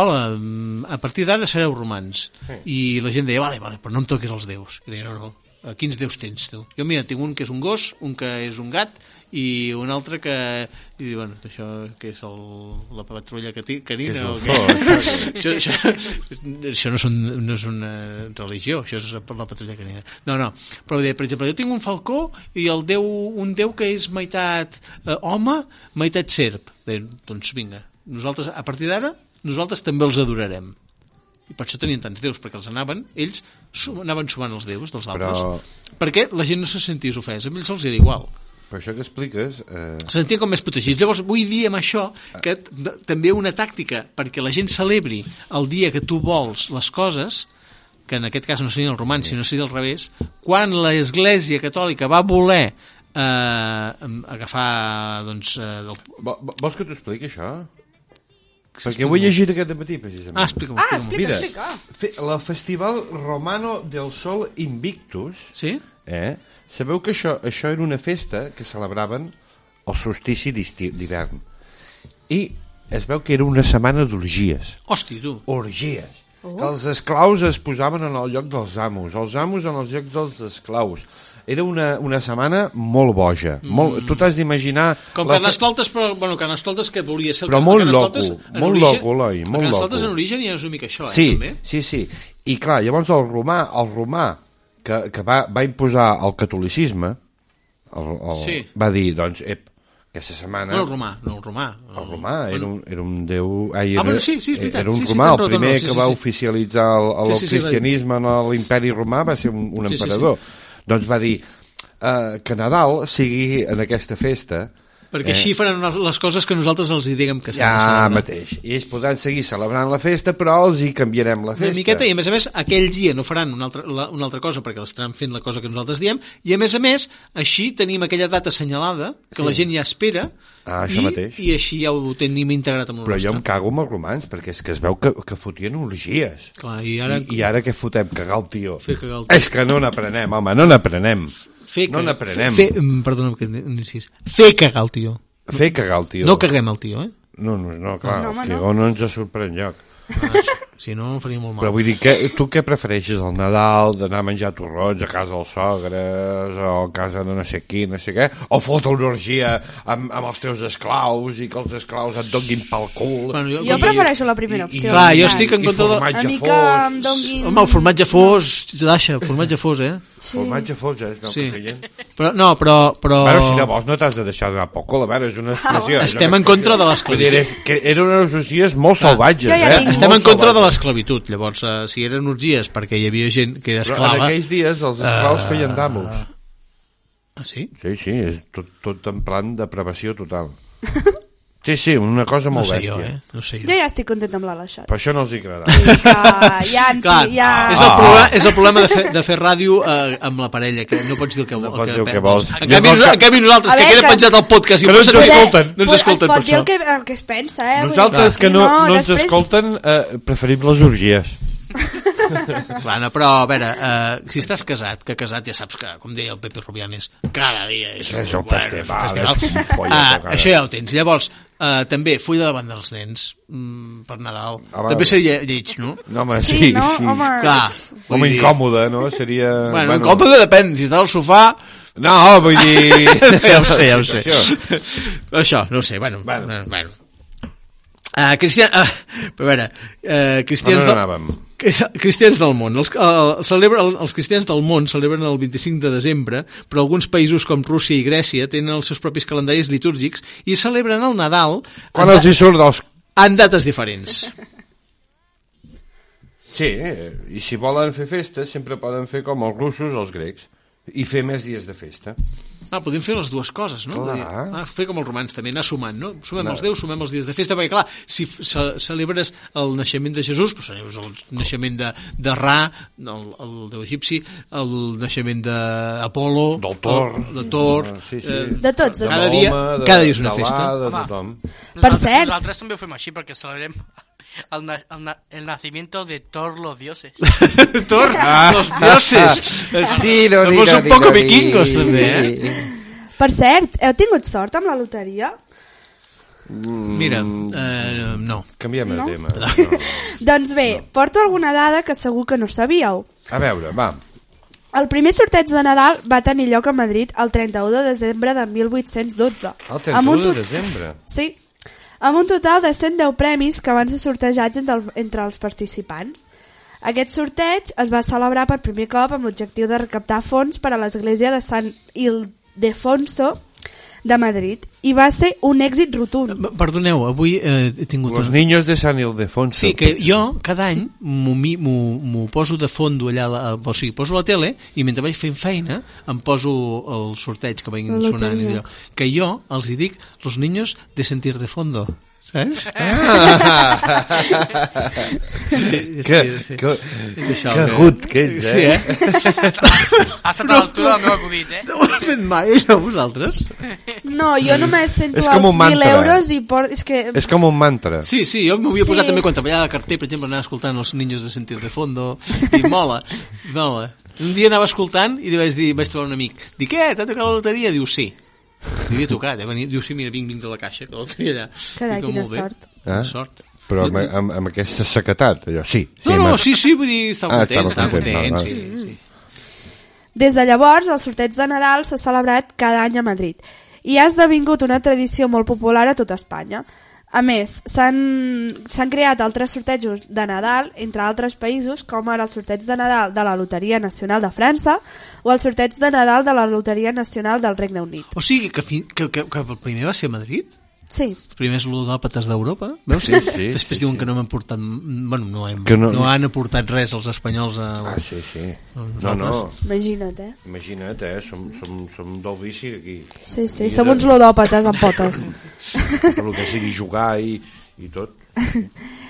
Speaker 1: hola, mm, a partir d'ara sereu romans. Sí. I la gent deia, vale, vale, però no em toquis els déus. I deia, no, no, eh, quins déus tens tu? Jo, mira, tinc un que és un gos, un que és un gat i un altre que... I diu, bueno, això que és el, la patrulla que ti- canina
Speaker 2: Que
Speaker 1: o
Speaker 2: és
Speaker 1: què?
Speaker 2: el
Speaker 1: això, això, això no, és un, no és una religió, això és per la patrulla canina. No, no, però vull dir, per exemple, jo tinc un falcó i el déu, un déu que és meitat eh, home, meitat serp. Bé, doncs vinga, nosaltres, a partir d'ara, nosaltres també els adorarem. I per això tenien tants déus, perquè els anaven, ells sum, anaven sumant els déus dels altres.
Speaker 2: Però-
Speaker 1: Perquè la gent no se sentís ofesa, a ells els era igual
Speaker 2: Però això que expliques... Eh...
Speaker 1: se sentien com més protegits. Llavors, vull dir amb això
Speaker 2: Ah.
Speaker 1: que t- d- també una tàctica perquè la gent celebri el dia que tu vols les coses, que en aquest cas no seria el romans, sinó seria al revés, quan l'Església Catòlica va voler eh, em- agafar doncs, eh, del...
Speaker 2: Vo- vo- Vols que t'ho expliqui, això? Perquè ho he llegit aquest matí, precisament.
Speaker 1: Ah, explica-m'ho.
Speaker 3: Ah,
Speaker 1: explica-m'ho.
Speaker 3: explica,
Speaker 2: Mira,
Speaker 3: explica.
Speaker 2: fe, la Festival Romano del Sol Invictus,
Speaker 1: Sí?
Speaker 2: eh? sabeu que això, això era una festa que celebraven el solstici d'estiu- d'hivern. I es veu que era una setmana d'orgies.
Speaker 1: Hosti, tu.
Speaker 2: Orgies.
Speaker 1: Oh.
Speaker 2: Que els esclaus es posaven en el lloc dels amos, els amos en els llocs dels esclaus. Era una, una setmana molt boja. Molt, tu t'has d'imaginar...
Speaker 1: Mm. Com
Speaker 2: la fe-
Speaker 1: Carnestoltes, però, bueno, Carnestoltes que volia ser... el
Speaker 2: Però
Speaker 1: Car-
Speaker 2: molt
Speaker 1: Carnestoltes
Speaker 2: loco,
Speaker 1: en
Speaker 2: molt
Speaker 1: origen-
Speaker 2: loco, Eloi,
Speaker 1: el
Speaker 2: molt
Speaker 1: Carnestoltes
Speaker 2: loco.
Speaker 1: en origen ja és una mica això, eh,
Speaker 2: Sí,
Speaker 1: també?
Speaker 2: sí, sí. I clar, llavors el romà, el romà que, que va, va imposar el catolicisme, el, el,
Speaker 1: Sí.
Speaker 2: va dir, doncs, ep, Aquesta setmana...
Speaker 1: No, el romà, no, el romà.
Speaker 2: El romà eh, era un, era un déu... Ai,
Speaker 1: Ah,
Speaker 2: era,
Speaker 1: bueno, sí, sí, és veritat.
Speaker 2: era un
Speaker 1: Sí, sí,
Speaker 2: romà,
Speaker 1: tens
Speaker 2: el
Speaker 1: raó,
Speaker 2: primer
Speaker 1: tens raó,
Speaker 2: que
Speaker 1: sí,
Speaker 2: va
Speaker 1: sí, sí.
Speaker 2: oficialitzar el, el,
Speaker 1: Sí, sí, sí,
Speaker 2: el
Speaker 1: és veritat.
Speaker 2: cristianisme en l'imperi romà, va ser un, un
Speaker 1: Sí, sí,
Speaker 2: emperador. Doncs va dir eh, que Nadal sigui en aquesta festa
Speaker 1: Perquè
Speaker 2: eh,
Speaker 1: així faran les- les coses que nosaltres els hi diguem que s'han de
Speaker 2: ja
Speaker 1: celebrar.
Speaker 2: mateix. I ells podran seguir celebrant la festa, però els hi canviarem la festa.
Speaker 1: Una miqueta, i a més a més, aquell dia no faran una altra, la, una altra cosa perquè estaran fent la cosa que nosaltres diem, i a més a més, així tenim aquella data assenyalada que la gent ja espera,
Speaker 2: Ah,
Speaker 1: i,
Speaker 2: això mateix.
Speaker 1: i així ja ho tenim integrat amb el
Speaker 2: Però jo em
Speaker 1: nostre.
Speaker 2: cago amb els romans, perquè és que es veu que, que fotien orgies.
Speaker 1: Clar, I ara...
Speaker 2: I, I ara què fotem? Cagar el tio.
Speaker 1: Fer cagar el tio.
Speaker 2: És que no n'aprenem, home, no n'aprenem.
Speaker 1: Fer
Speaker 2: Eh, no
Speaker 1: cagar-
Speaker 2: n'aprenem.
Speaker 1: Fer, mm, perdona'm que incís. Fer cagar el tio.
Speaker 2: Fer cagar el tio.
Speaker 1: No caguem el tio, eh?
Speaker 2: No, no, no clar, no,
Speaker 3: No, home,
Speaker 2: el tio no. no ens sorprèn lloc.
Speaker 1: Si no, em faria molt mal.
Speaker 2: Però vull dir, que, tu què prefereixes, el Nadal, d'anar a menjar torrons a casa dels sogres, o a casa de no sé qui, no sé què, o fotre una orgia amb, amb els teus esclaus i que els esclaus et donguin pel cul.
Speaker 1: Bueno,
Speaker 3: Jo
Speaker 1: vull dir-
Speaker 3: prefereixo la primera
Speaker 2: i- i-
Speaker 3: opció.
Speaker 1: Clar, jo
Speaker 3: clar.
Speaker 1: estic en
Speaker 2: I
Speaker 1: contra de...
Speaker 2: formatge
Speaker 3: Una mica
Speaker 2: fos.
Speaker 3: em donguin...
Speaker 1: Home, el formatge fos, deixa, formatge fos, eh?
Speaker 3: Sí.
Speaker 2: Formatge fos, eh? No,
Speaker 1: Sí.
Speaker 2: sí.
Speaker 1: Però, no, però... però...
Speaker 2: Bueno, si no vols no t'has de deixar donar por cul, a veure, és una expressió. és
Speaker 1: Estem
Speaker 2: una
Speaker 1: en contra de
Speaker 2: Vull dir,
Speaker 1: l'esclavitud.
Speaker 2: és que eren unes orgies molt salvatges,
Speaker 3: Jo ja
Speaker 2: eh?
Speaker 3: tinc-
Speaker 1: Estem
Speaker 2: Molt
Speaker 1: en contra de
Speaker 2: salvatges.
Speaker 1: l'esclavitud, llavors, eh, si eren orgies perquè hi havia gent que era
Speaker 2: Però en
Speaker 1: esclava...
Speaker 2: aquells dies els esclaus feien damos.
Speaker 1: Ah, sí?
Speaker 2: Sí, sí, és tot, tot en plan depravació total. Sí, sí, una cosa
Speaker 1: No
Speaker 2: molt
Speaker 1: sé jo,
Speaker 2: bèstia.
Speaker 1: eh? No sé
Speaker 3: Jo
Speaker 1: jo.
Speaker 3: ja estic contenta amb l'Aleixat.
Speaker 2: Però això no els hi agradarà.
Speaker 3: Que ja, en-
Speaker 1: Clar,
Speaker 3: ja...
Speaker 1: és,
Speaker 2: Ah.
Speaker 1: el problema, és el problema de fer, de fer ràdio eh, amb la parella, que no pots dir el que,
Speaker 2: No
Speaker 1: el
Speaker 2: pots dir el que vols.
Speaker 1: En
Speaker 2: Jo
Speaker 1: canvi,
Speaker 2: vols
Speaker 1: nosa-
Speaker 2: que-
Speaker 1: en canvi nosaltres,
Speaker 3: A
Speaker 1: que
Speaker 3: veure,
Speaker 1: queda
Speaker 3: que-
Speaker 1: penjat el podcast i
Speaker 2: Que no ens
Speaker 1: sabem-
Speaker 2: escolten.
Speaker 1: No ens escolten,
Speaker 3: per
Speaker 1: per
Speaker 3: això. Es pot dir
Speaker 1: això.
Speaker 3: el que, el que es pensa, eh? Vull dir,
Speaker 2: Nosaltres que no,
Speaker 3: si
Speaker 2: no ens escolten eh, preferim les orgies.
Speaker 1: Clar, no, però, a veure, eh, si estàs casat, que casat ja saps que, com deia el Pepe Rubianes, cada dia és,
Speaker 2: És un festival, és un folletó,
Speaker 1: Ah,
Speaker 2: cada
Speaker 1: això
Speaker 2: dia.
Speaker 1: ja ho tens. Llavors, eh, també, full de davant dels nens mm, per Nadal.
Speaker 2: Ah, va,
Speaker 1: també
Speaker 2: va.
Speaker 1: seria lleig, no?
Speaker 2: No, home,
Speaker 3: Sí,
Speaker 2: sí,
Speaker 3: no?
Speaker 2: sí.
Speaker 3: Home,
Speaker 1: Clar,
Speaker 2: Com
Speaker 1: vull dir-
Speaker 2: incòmode, no? Seria...
Speaker 1: Bueno, bueno, incòmode depèn, si estàs al sofà...
Speaker 2: No, vull dir...
Speaker 1: ja ho sé, ja ho sé.
Speaker 2: Això.
Speaker 1: Això, no ho sé, bueno.
Speaker 2: Bueno.
Speaker 1: Bueno. bueno. Uh, Cristian, uh, a veure, uh,
Speaker 2: On
Speaker 1: cristians,
Speaker 2: no
Speaker 1: del-
Speaker 2: anàvem?
Speaker 1: Cristians del món. Els, eh, celebra, els cristians del món celebren el 25 de desembre, però alguns països com Rússia i Grècia tenen els seus propis calendaris litúrgics i celebren el Nadal en,
Speaker 2: Quan els
Speaker 1: da
Speaker 2: hi surt dels...
Speaker 1: en dates diferents.
Speaker 2: Sí, eh, i si volen fer festes, sempre poden fer com els russos o els grecs i fer més dies de festa.
Speaker 1: Ah, podem fer les dues coses, no?
Speaker 2: Clar.
Speaker 1: Vull dir, Ah, fer com els romans també, anar sumant, no? Sumem
Speaker 2: Clar.
Speaker 1: els déus, sumem els dies de festa, perquè clar, si f- ce celebres el naixement de Jesús, però celebres el naixement de, de Ra, el, el déu egipci, el naixement d'Apolo...
Speaker 2: Del Thor. Ah,
Speaker 1: el- De Thor...
Speaker 2: Sí, sí.
Speaker 1: eh,
Speaker 3: De tots, de
Speaker 1: Cada
Speaker 3: tots.
Speaker 1: dia-
Speaker 2: Mahoma,
Speaker 1: cada dia és una
Speaker 2: d'Alà,
Speaker 1: festa.
Speaker 2: De
Speaker 4: Home.
Speaker 2: tothom.
Speaker 3: Per
Speaker 4: Nosaltres-
Speaker 3: cert.
Speaker 4: Nosaltres també ho fem així, perquè celebrem el, na el, na el nacimiento de todos los dioses.
Speaker 1: Thor,
Speaker 2: Ah.
Speaker 1: los dioses.
Speaker 2: Dilo,
Speaker 1: Somos
Speaker 2: dilo,
Speaker 1: un poco
Speaker 2: dilo,
Speaker 1: vikingos,
Speaker 2: dilo.
Speaker 1: també, eh?
Speaker 3: Per cert, heu tingut sort amb la loteria?
Speaker 1: Mira,
Speaker 2: Mm.
Speaker 1: eh, no.
Speaker 2: Canviem
Speaker 3: No?
Speaker 2: de tema. No.
Speaker 3: Doncs bé, porto alguna dada que segur que no sabíeu.
Speaker 2: A veure, va.
Speaker 3: El primer sorteig de Nadal va tenir lloc a Madrid el 31 de desembre de 1812.
Speaker 2: El
Speaker 3: amb
Speaker 2: 31
Speaker 3: un
Speaker 2: de
Speaker 3: tot-
Speaker 2: desembre.
Speaker 3: Sí, amb un total de 110 premis que van ser sortejats entre, el, entre els participants. Aquest sorteig es va celebrar per primer cop amb l'objectiu de recaptar fons per a l'església de Sant Ildefonso de Madrid i va ser un èxit rotund.
Speaker 1: Perdoneu, avui eh, he tingut
Speaker 2: Los
Speaker 1: un
Speaker 2: niños de San Ildefonso.
Speaker 1: Sí, que jo cada any m'ho mi- m'ho m'ho poso de fondo allà, a la, o sigui, poso la tele i mentre vaig fent feina em poso el sorteig que
Speaker 3: La
Speaker 1: vinguin
Speaker 3: loteria.
Speaker 1: sonant i allò, que jo els hi dic los niños de sentir de fondo saps? Sí,
Speaker 2: Ah. Que,
Speaker 1: sí.
Speaker 2: que,
Speaker 1: És això,
Speaker 2: que
Speaker 1: que-
Speaker 2: agut que ets, eh?
Speaker 1: Sí, eh?
Speaker 4: Ha estat a l'altura del meu acudit, eh?
Speaker 1: No ho he fet mai, això, vosaltres?
Speaker 3: No, jo només sento
Speaker 2: És com
Speaker 3: els
Speaker 2: un
Speaker 3: 1.000
Speaker 2: mantra. eh?
Speaker 3: euros i por... És que...
Speaker 2: És com un mantra.
Speaker 1: Sí, sí, jo m'ho havia
Speaker 3: Sí.
Speaker 1: posat també quan treballava al carter, per exemple, anava escoltant els niños de sentir de fondo, i mola, mola. Un dia anava escoltant i li vaig dir, vaig trobar un amic, dic, eh, t'ha tocat la loteria? Diu, sí. Li havia tocat, eh? Venia, diu, sí, mira, vinc, vinc de la caixa, que la tenia allà.
Speaker 3: Carai,
Speaker 1: Dic, "Oh,
Speaker 3: quina
Speaker 1: molt bé."
Speaker 3: sort.
Speaker 1: Quina
Speaker 2: Eh?
Speaker 1: sort.
Speaker 2: Però amb, amb, amb aquesta sequetat, allò, sí.
Speaker 1: No, no,
Speaker 2: m'ha-
Speaker 1: sí, sí, vull dir, estava
Speaker 2: Ah,
Speaker 1: content,
Speaker 2: estava
Speaker 1: estava
Speaker 2: content,
Speaker 1: content,
Speaker 2: no,
Speaker 1: sí, sí.
Speaker 3: Des de llavors, el sorteig de Nadal s'ha celebrat cada any a Madrid i ha esdevingut una tradició molt popular a tota Espanya. A més, s'han s'han creat altres sortejos de Nadal entre altres països, com ara el sorteig de Nadal de la Loteria Nacional de França o el sorteig de Nadal de la Loteria Nacional del Regne Unit.
Speaker 1: O sigui que, fi, que, que, que el primer va ser a Madrid?
Speaker 3: Sí,
Speaker 1: Els primers ludòpates d'Europa? Veus?
Speaker 2: Sí, sí,
Speaker 1: Després
Speaker 2: sí,
Speaker 1: diuen
Speaker 2: sí.
Speaker 1: que no m'han portat... Bueno, no, hem,
Speaker 2: Que
Speaker 1: no...
Speaker 2: no-
Speaker 1: no han aportat res els espanyols a...
Speaker 2: Ah, sí, sí. No, no,
Speaker 3: imagina't, eh?
Speaker 2: imagina't, eh? Som, som, som del vici aquí.
Speaker 3: Sí, sí, som uns ludòpates amb potes.
Speaker 2: El que sigui jugar i, i tot.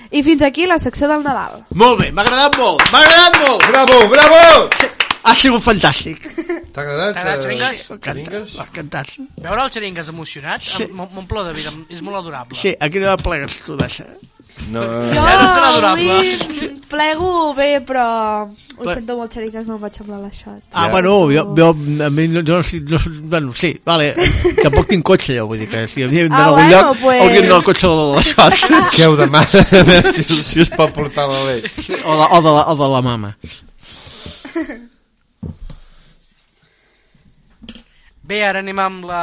Speaker 3: I fins aquí la secció del Nadal.
Speaker 1: Molt bé, m'ha agradat molt, m'ha agradat molt!
Speaker 2: Bravo, bravo!
Speaker 1: Ha sigut fantàxi.
Speaker 2: T'ha agradat?
Speaker 4: T'ha agradat,
Speaker 2: eh,
Speaker 4: Xeringues?
Speaker 2: Xeringues?
Speaker 1: M'ha encantat.
Speaker 4: Veure el xeringues emocionat em- m'om- m'omple de vida, és molt adorable.
Speaker 1: Sí, a quina hora plegues tu, Dasha?
Speaker 2: No,
Speaker 3: Jo
Speaker 4: Ja no serà adorable.
Speaker 3: avui plego bé, però ho
Speaker 1: Ple-
Speaker 3: sento molt xeriques, me'n vaig semblar la xot.
Speaker 1: Ah,
Speaker 2: Ja.
Speaker 1: bueno, jo, jo, a mi no, jo no, soc- no, soc- bueno, sí, vale, tampoc tinc cotxe jo, vull dir que si havíem d'anar
Speaker 3: Ah,
Speaker 1: a algun
Speaker 3: bueno,
Speaker 1: lloc,
Speaker 3: pues.
Speaker 1: hauríem d'anar al cotxe de les fas,
Speaker 2: Què heu demanat? A veure si, si us pot portar la llet.
Speaker 1: o, la, o, de la, o de la mama.
Speaker 4: Bé, ara anem amb la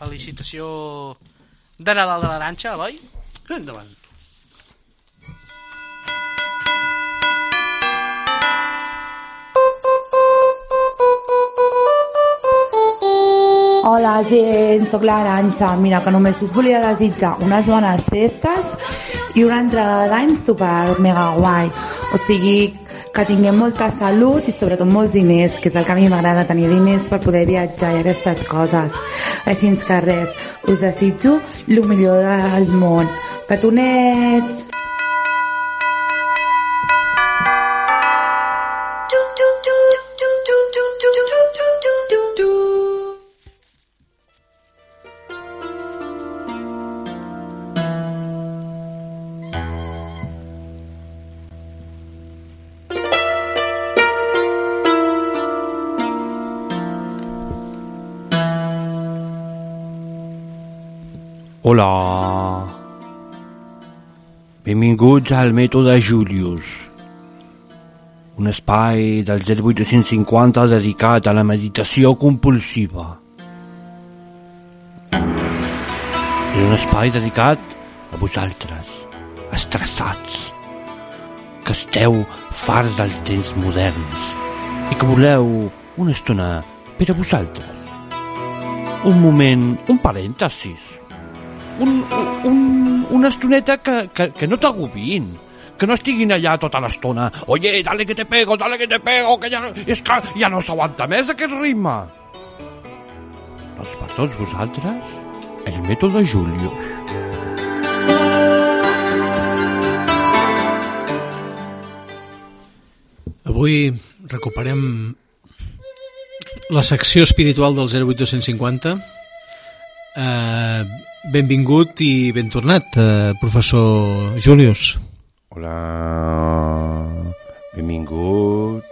Speaker 4: felicitació de Nadal de l'Aranxa, Eloi?
Speaker 1: Endavant.
Speaker 8: Hola gent, sóc l'Aranxa. Mira, que només us volia desitjar unes bones festes i una entrada d'any super mega guai. O sigui, que tinguem molta salut i sobretot molts diners, que és el que a mi m'agrada, tenir diners per poder viatjar i aquestes coses. Així que res, us desitjo el millor del món. Petonets!
Speaker 2: Hola. Benvinguts al mètode Julius, un espai del 0850 dedicat a la meditació compulsiva. És un espai dedicat a vosaltres, estressats, que esteu farts dels temps moderns i que voleu una estona per a vosaltres. Un moment, un parèntesis, un, un, una estoneta que, que, que no t'agobin que no estiguin allà tota l'estona oye, dale que te pego, dale que te pego que ja no, és que ja no s'aguanta més aquest ritme doncs per tots vosaltres el mètode Julius
Speaker 1: Avui recuperem la secció espiritual del 08250. Eh, benvingut i ben tornat, eh, professor Julius.
Speaker 2: hola benvinguts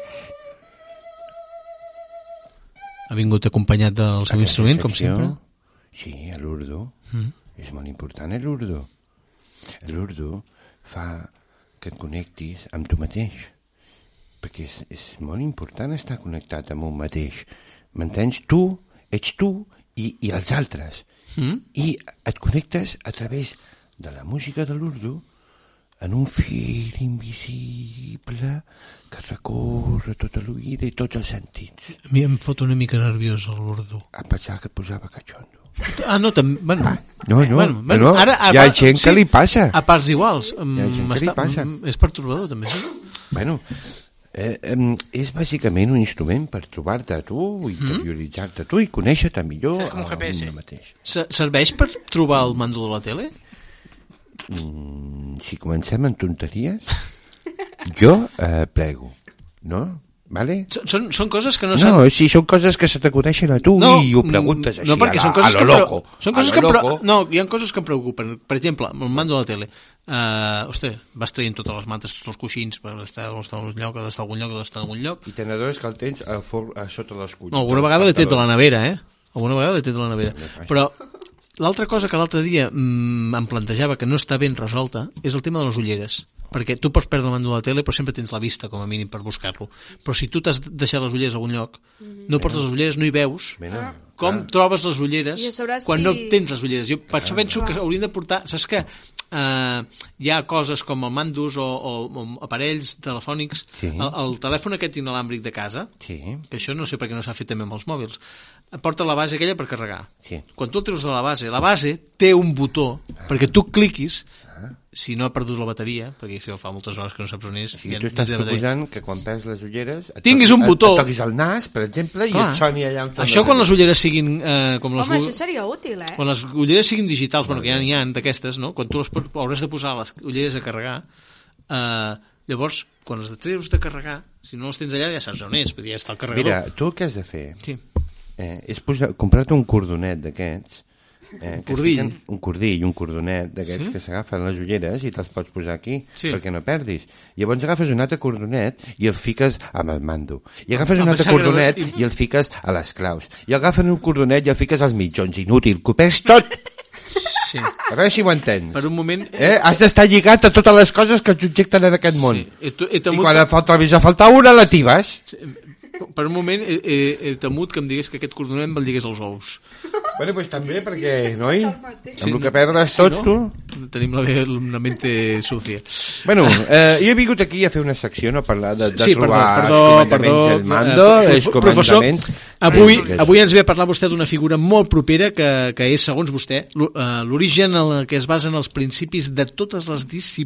Speaker 1: Ha vingut acompanyat del seu instrument, com sempre. Mm.
Speaker 2: sí, a l'urdo és molt important l'urdo l'urdo fa que et connectis amb tu mateix perquè és, és molt important estar connectat amb un mateix m'entens? Tu ets tu i, i els altres
Speaker 1: Mm?
Speaker 2: i et connectes a través de la música de l'urdo en un fil invisible que recorre tota l'oïda i tots els sentits
Speaker 1: A mi em fot una mica nerviós el l'ordo.
Speaker 2: a pensar que et posava cachondo
Speaker 1: Ah, no, també... Bueno,
Speaker 2: no, no, no, hi ha gent que li passa.
Speaker 1: A parts iguals. em-
Speaker 2: Hi ha gent que li
Speaker 1: m'està-
Speaker 2: passa.
Speaker 1: em- És perturbador, també. Sí?
Speaker 2: Bueno, eh, eh, és bàsicament un instrument per trobar-te a tu,
Speaker 1: Mhm.
Speaker 2: interioritzar-te a tu i conèixer-te millor
Speaker 4: És com un
Speaker 2: a
Speaker 4: GPS.
Speaker 2: un mateix.
Speaker 1: Se- Serveix per trobar el mando de la tele?
Speaker 2: Mm, Si comencem en tonteries, jo eh, plego, no? Vale?
Speaker 1: Són- Són, són coses que no,
Speaker 2: No,
Speaker 1: saps...
Speaker 2: no si són coses que se t'acudeixen a tu i ho preguntes així
Speaker 1: no, perquè
Speaker 2: a, la,
Speaker 1: són coses
Speaker 2: a lo
Speaker 1: que em
Speaker 2: loco.
Speaker 1: pre- Són
Speaker 2: a
Speaker 1: coses
Speaker 2: lo
Speaker 1: que em pre-
Speaker 2: loco.
Speaker 1: No, hi ha coses que em preocupen. Per exemple, amb el mando de la tele. Uh, ostres, vas traient totes les mates, tots els coixins, perquè està, està en un lloc, ha d'estar a algun lloc, ha d'estar a algun lloc.
Speaker 2: I te n'adones que el tens a, for, a sota les culles.
Speaker 1: No, alguna vegada l'he tret de la nevera, eh? Alguna vegada l'he tret de la nevera. Però l'altra cosa que l'altre dia mm, em plantejava que no està ben resolta és el tema de les ulleres. perquè tu pots perdre el mando de la tele però sempre tens la vista com a mínim per buscar-lo però si tu t'has deixat les ulleres a algun lloc
Speaker 3: Mhm.
Speaker 1: no portes les ulleres, no hi veus
Speaker 2: Mira, Ah.
Speaker 1: com trobes les ulleres
Speaker 3: I a sobre
Speaker 1: quan
Speaker 3: si-
Speaker 1: no tens les ulleres jo per això penso que hauríem de portar saps que eh, hi ha coses com el mandus o, o, o aparells telefònics
Speaker 2: Sí.
Speaker 1: el, el telèfon aquest inalàmbric de casa
Speaker 2: Sí,
Speaker 1: que això no sé per què no s'ha fet també amb els mòbils porta la base aquella per carregar
Speaker 2: Sí. Ah.
Speaker 1: quan tu el treus de la base, la base té un botó perquè tu cliquis si no ha perdut la bateria perquè això fa moltes hores que no saps on és
Speaker 2: o sigui,
Speaker 1: ja
Speaker 2: tu
Speaker 1: no
Speaker 2: estàs
Speaker 1: té bateria.
Speaker 2: proposant que quan perds les ulleres... et
Speaker 1: Tinguis
Speaker 2: toqui-
Speaker 1: un
Speaker 2: et-
Speaker 1: botó.
Speaker 2: Et toquis el nas, per exemple, i
Speaker 1: Clar.
Speaker 2: et soni allà... on
Speaker 1: això quan les ulleres siguin eh, com les
Speaker 3: Home,
Speaker 1: ul-
Speaker 3: això seria útil, eh?
Speaker 1: quan les ulleres siguin digitals, bueno, que ja n'hi ha d'aquestes, no? Quan tu les pots, hauràs de posar les ulleres a carregar, eh, llavors, quan les treus de carregar, si no les tens allà, ja saps on és, vull dir, ja està el carregador.
Speaker 2: Mira, tu el que has de fer
Speaker 1: Sí.
Speaker 2: eh, és posar- comprar-te un cordonet d'aquests Eh, que es
Speaker 1: cordill.
Speaker 2: fiquen- un cordill, un cordonet d'aquests sí? que s'agafen les ulleres i te'ls pots posar aquí
Speaker 1: Sí.
Speaker 2: perquè no perdis. Llavors agafes un altre cordonet i el fiques amb el mando. I agafes
Speaker 1: Em
Speaker 2: un altre
Speaker 1: pensava que era
Speaker 2: cordonet
Speaker 1: l'últim.
Speaker 2: i el fiques a les claus. I agafen un cordonet i el fiques als mitjons. Inútil, que ho perds tot!
Speaker 1: Sí.
Speaker 2: A veure si ho entens.
Speaker 1: Per un moment...
Speaker 2: Eh? Has d'estar lligat a totes les coses que et subjecten en aquest món.
Speaker 1: Sí. He, t- he
Speaker 2: I
Speaker 1: temut,
Speaker 2: quan et fa televisió faltar una, la tibes.
Speaker 1: Per un moment he, he, he temut que em digués que aquest cordonet me'l digués als ous.
Speaker 2: Bueno, doncs també, perquè, noi,
Speaker 1: Sí,
Speaker 2: amb el
Speaker 1: no-
Speaker 2: que perdes tot,
Speaker 1: no?
Speaker 2: tu...
Speaker 1: Tenim la, ve- la mente sucia.
Speaker 2: Bueno, eh, jo he vingut aquí a fer una secció, no? A parlar de, de
Speaker 1: sí, perdó,
Speaker 2: trobar
Speaker 1: perdó,
Speaker 2: els
Speaker 1: perdó,
Speaker 2: comandaments del mando,
Speaker 1: eh,
Speaker 2: els
Speaker 1: professor,
Speaker 2: comandaments... Eh,
Speaker 1: avui,
Speaker 2: Sí, sí.
Speaker 1: avui ens ve a parlar vostè d'una figura molt propera que, que és, segons vostè, l'o- eh, l'origen en el que es basen els principis de totes les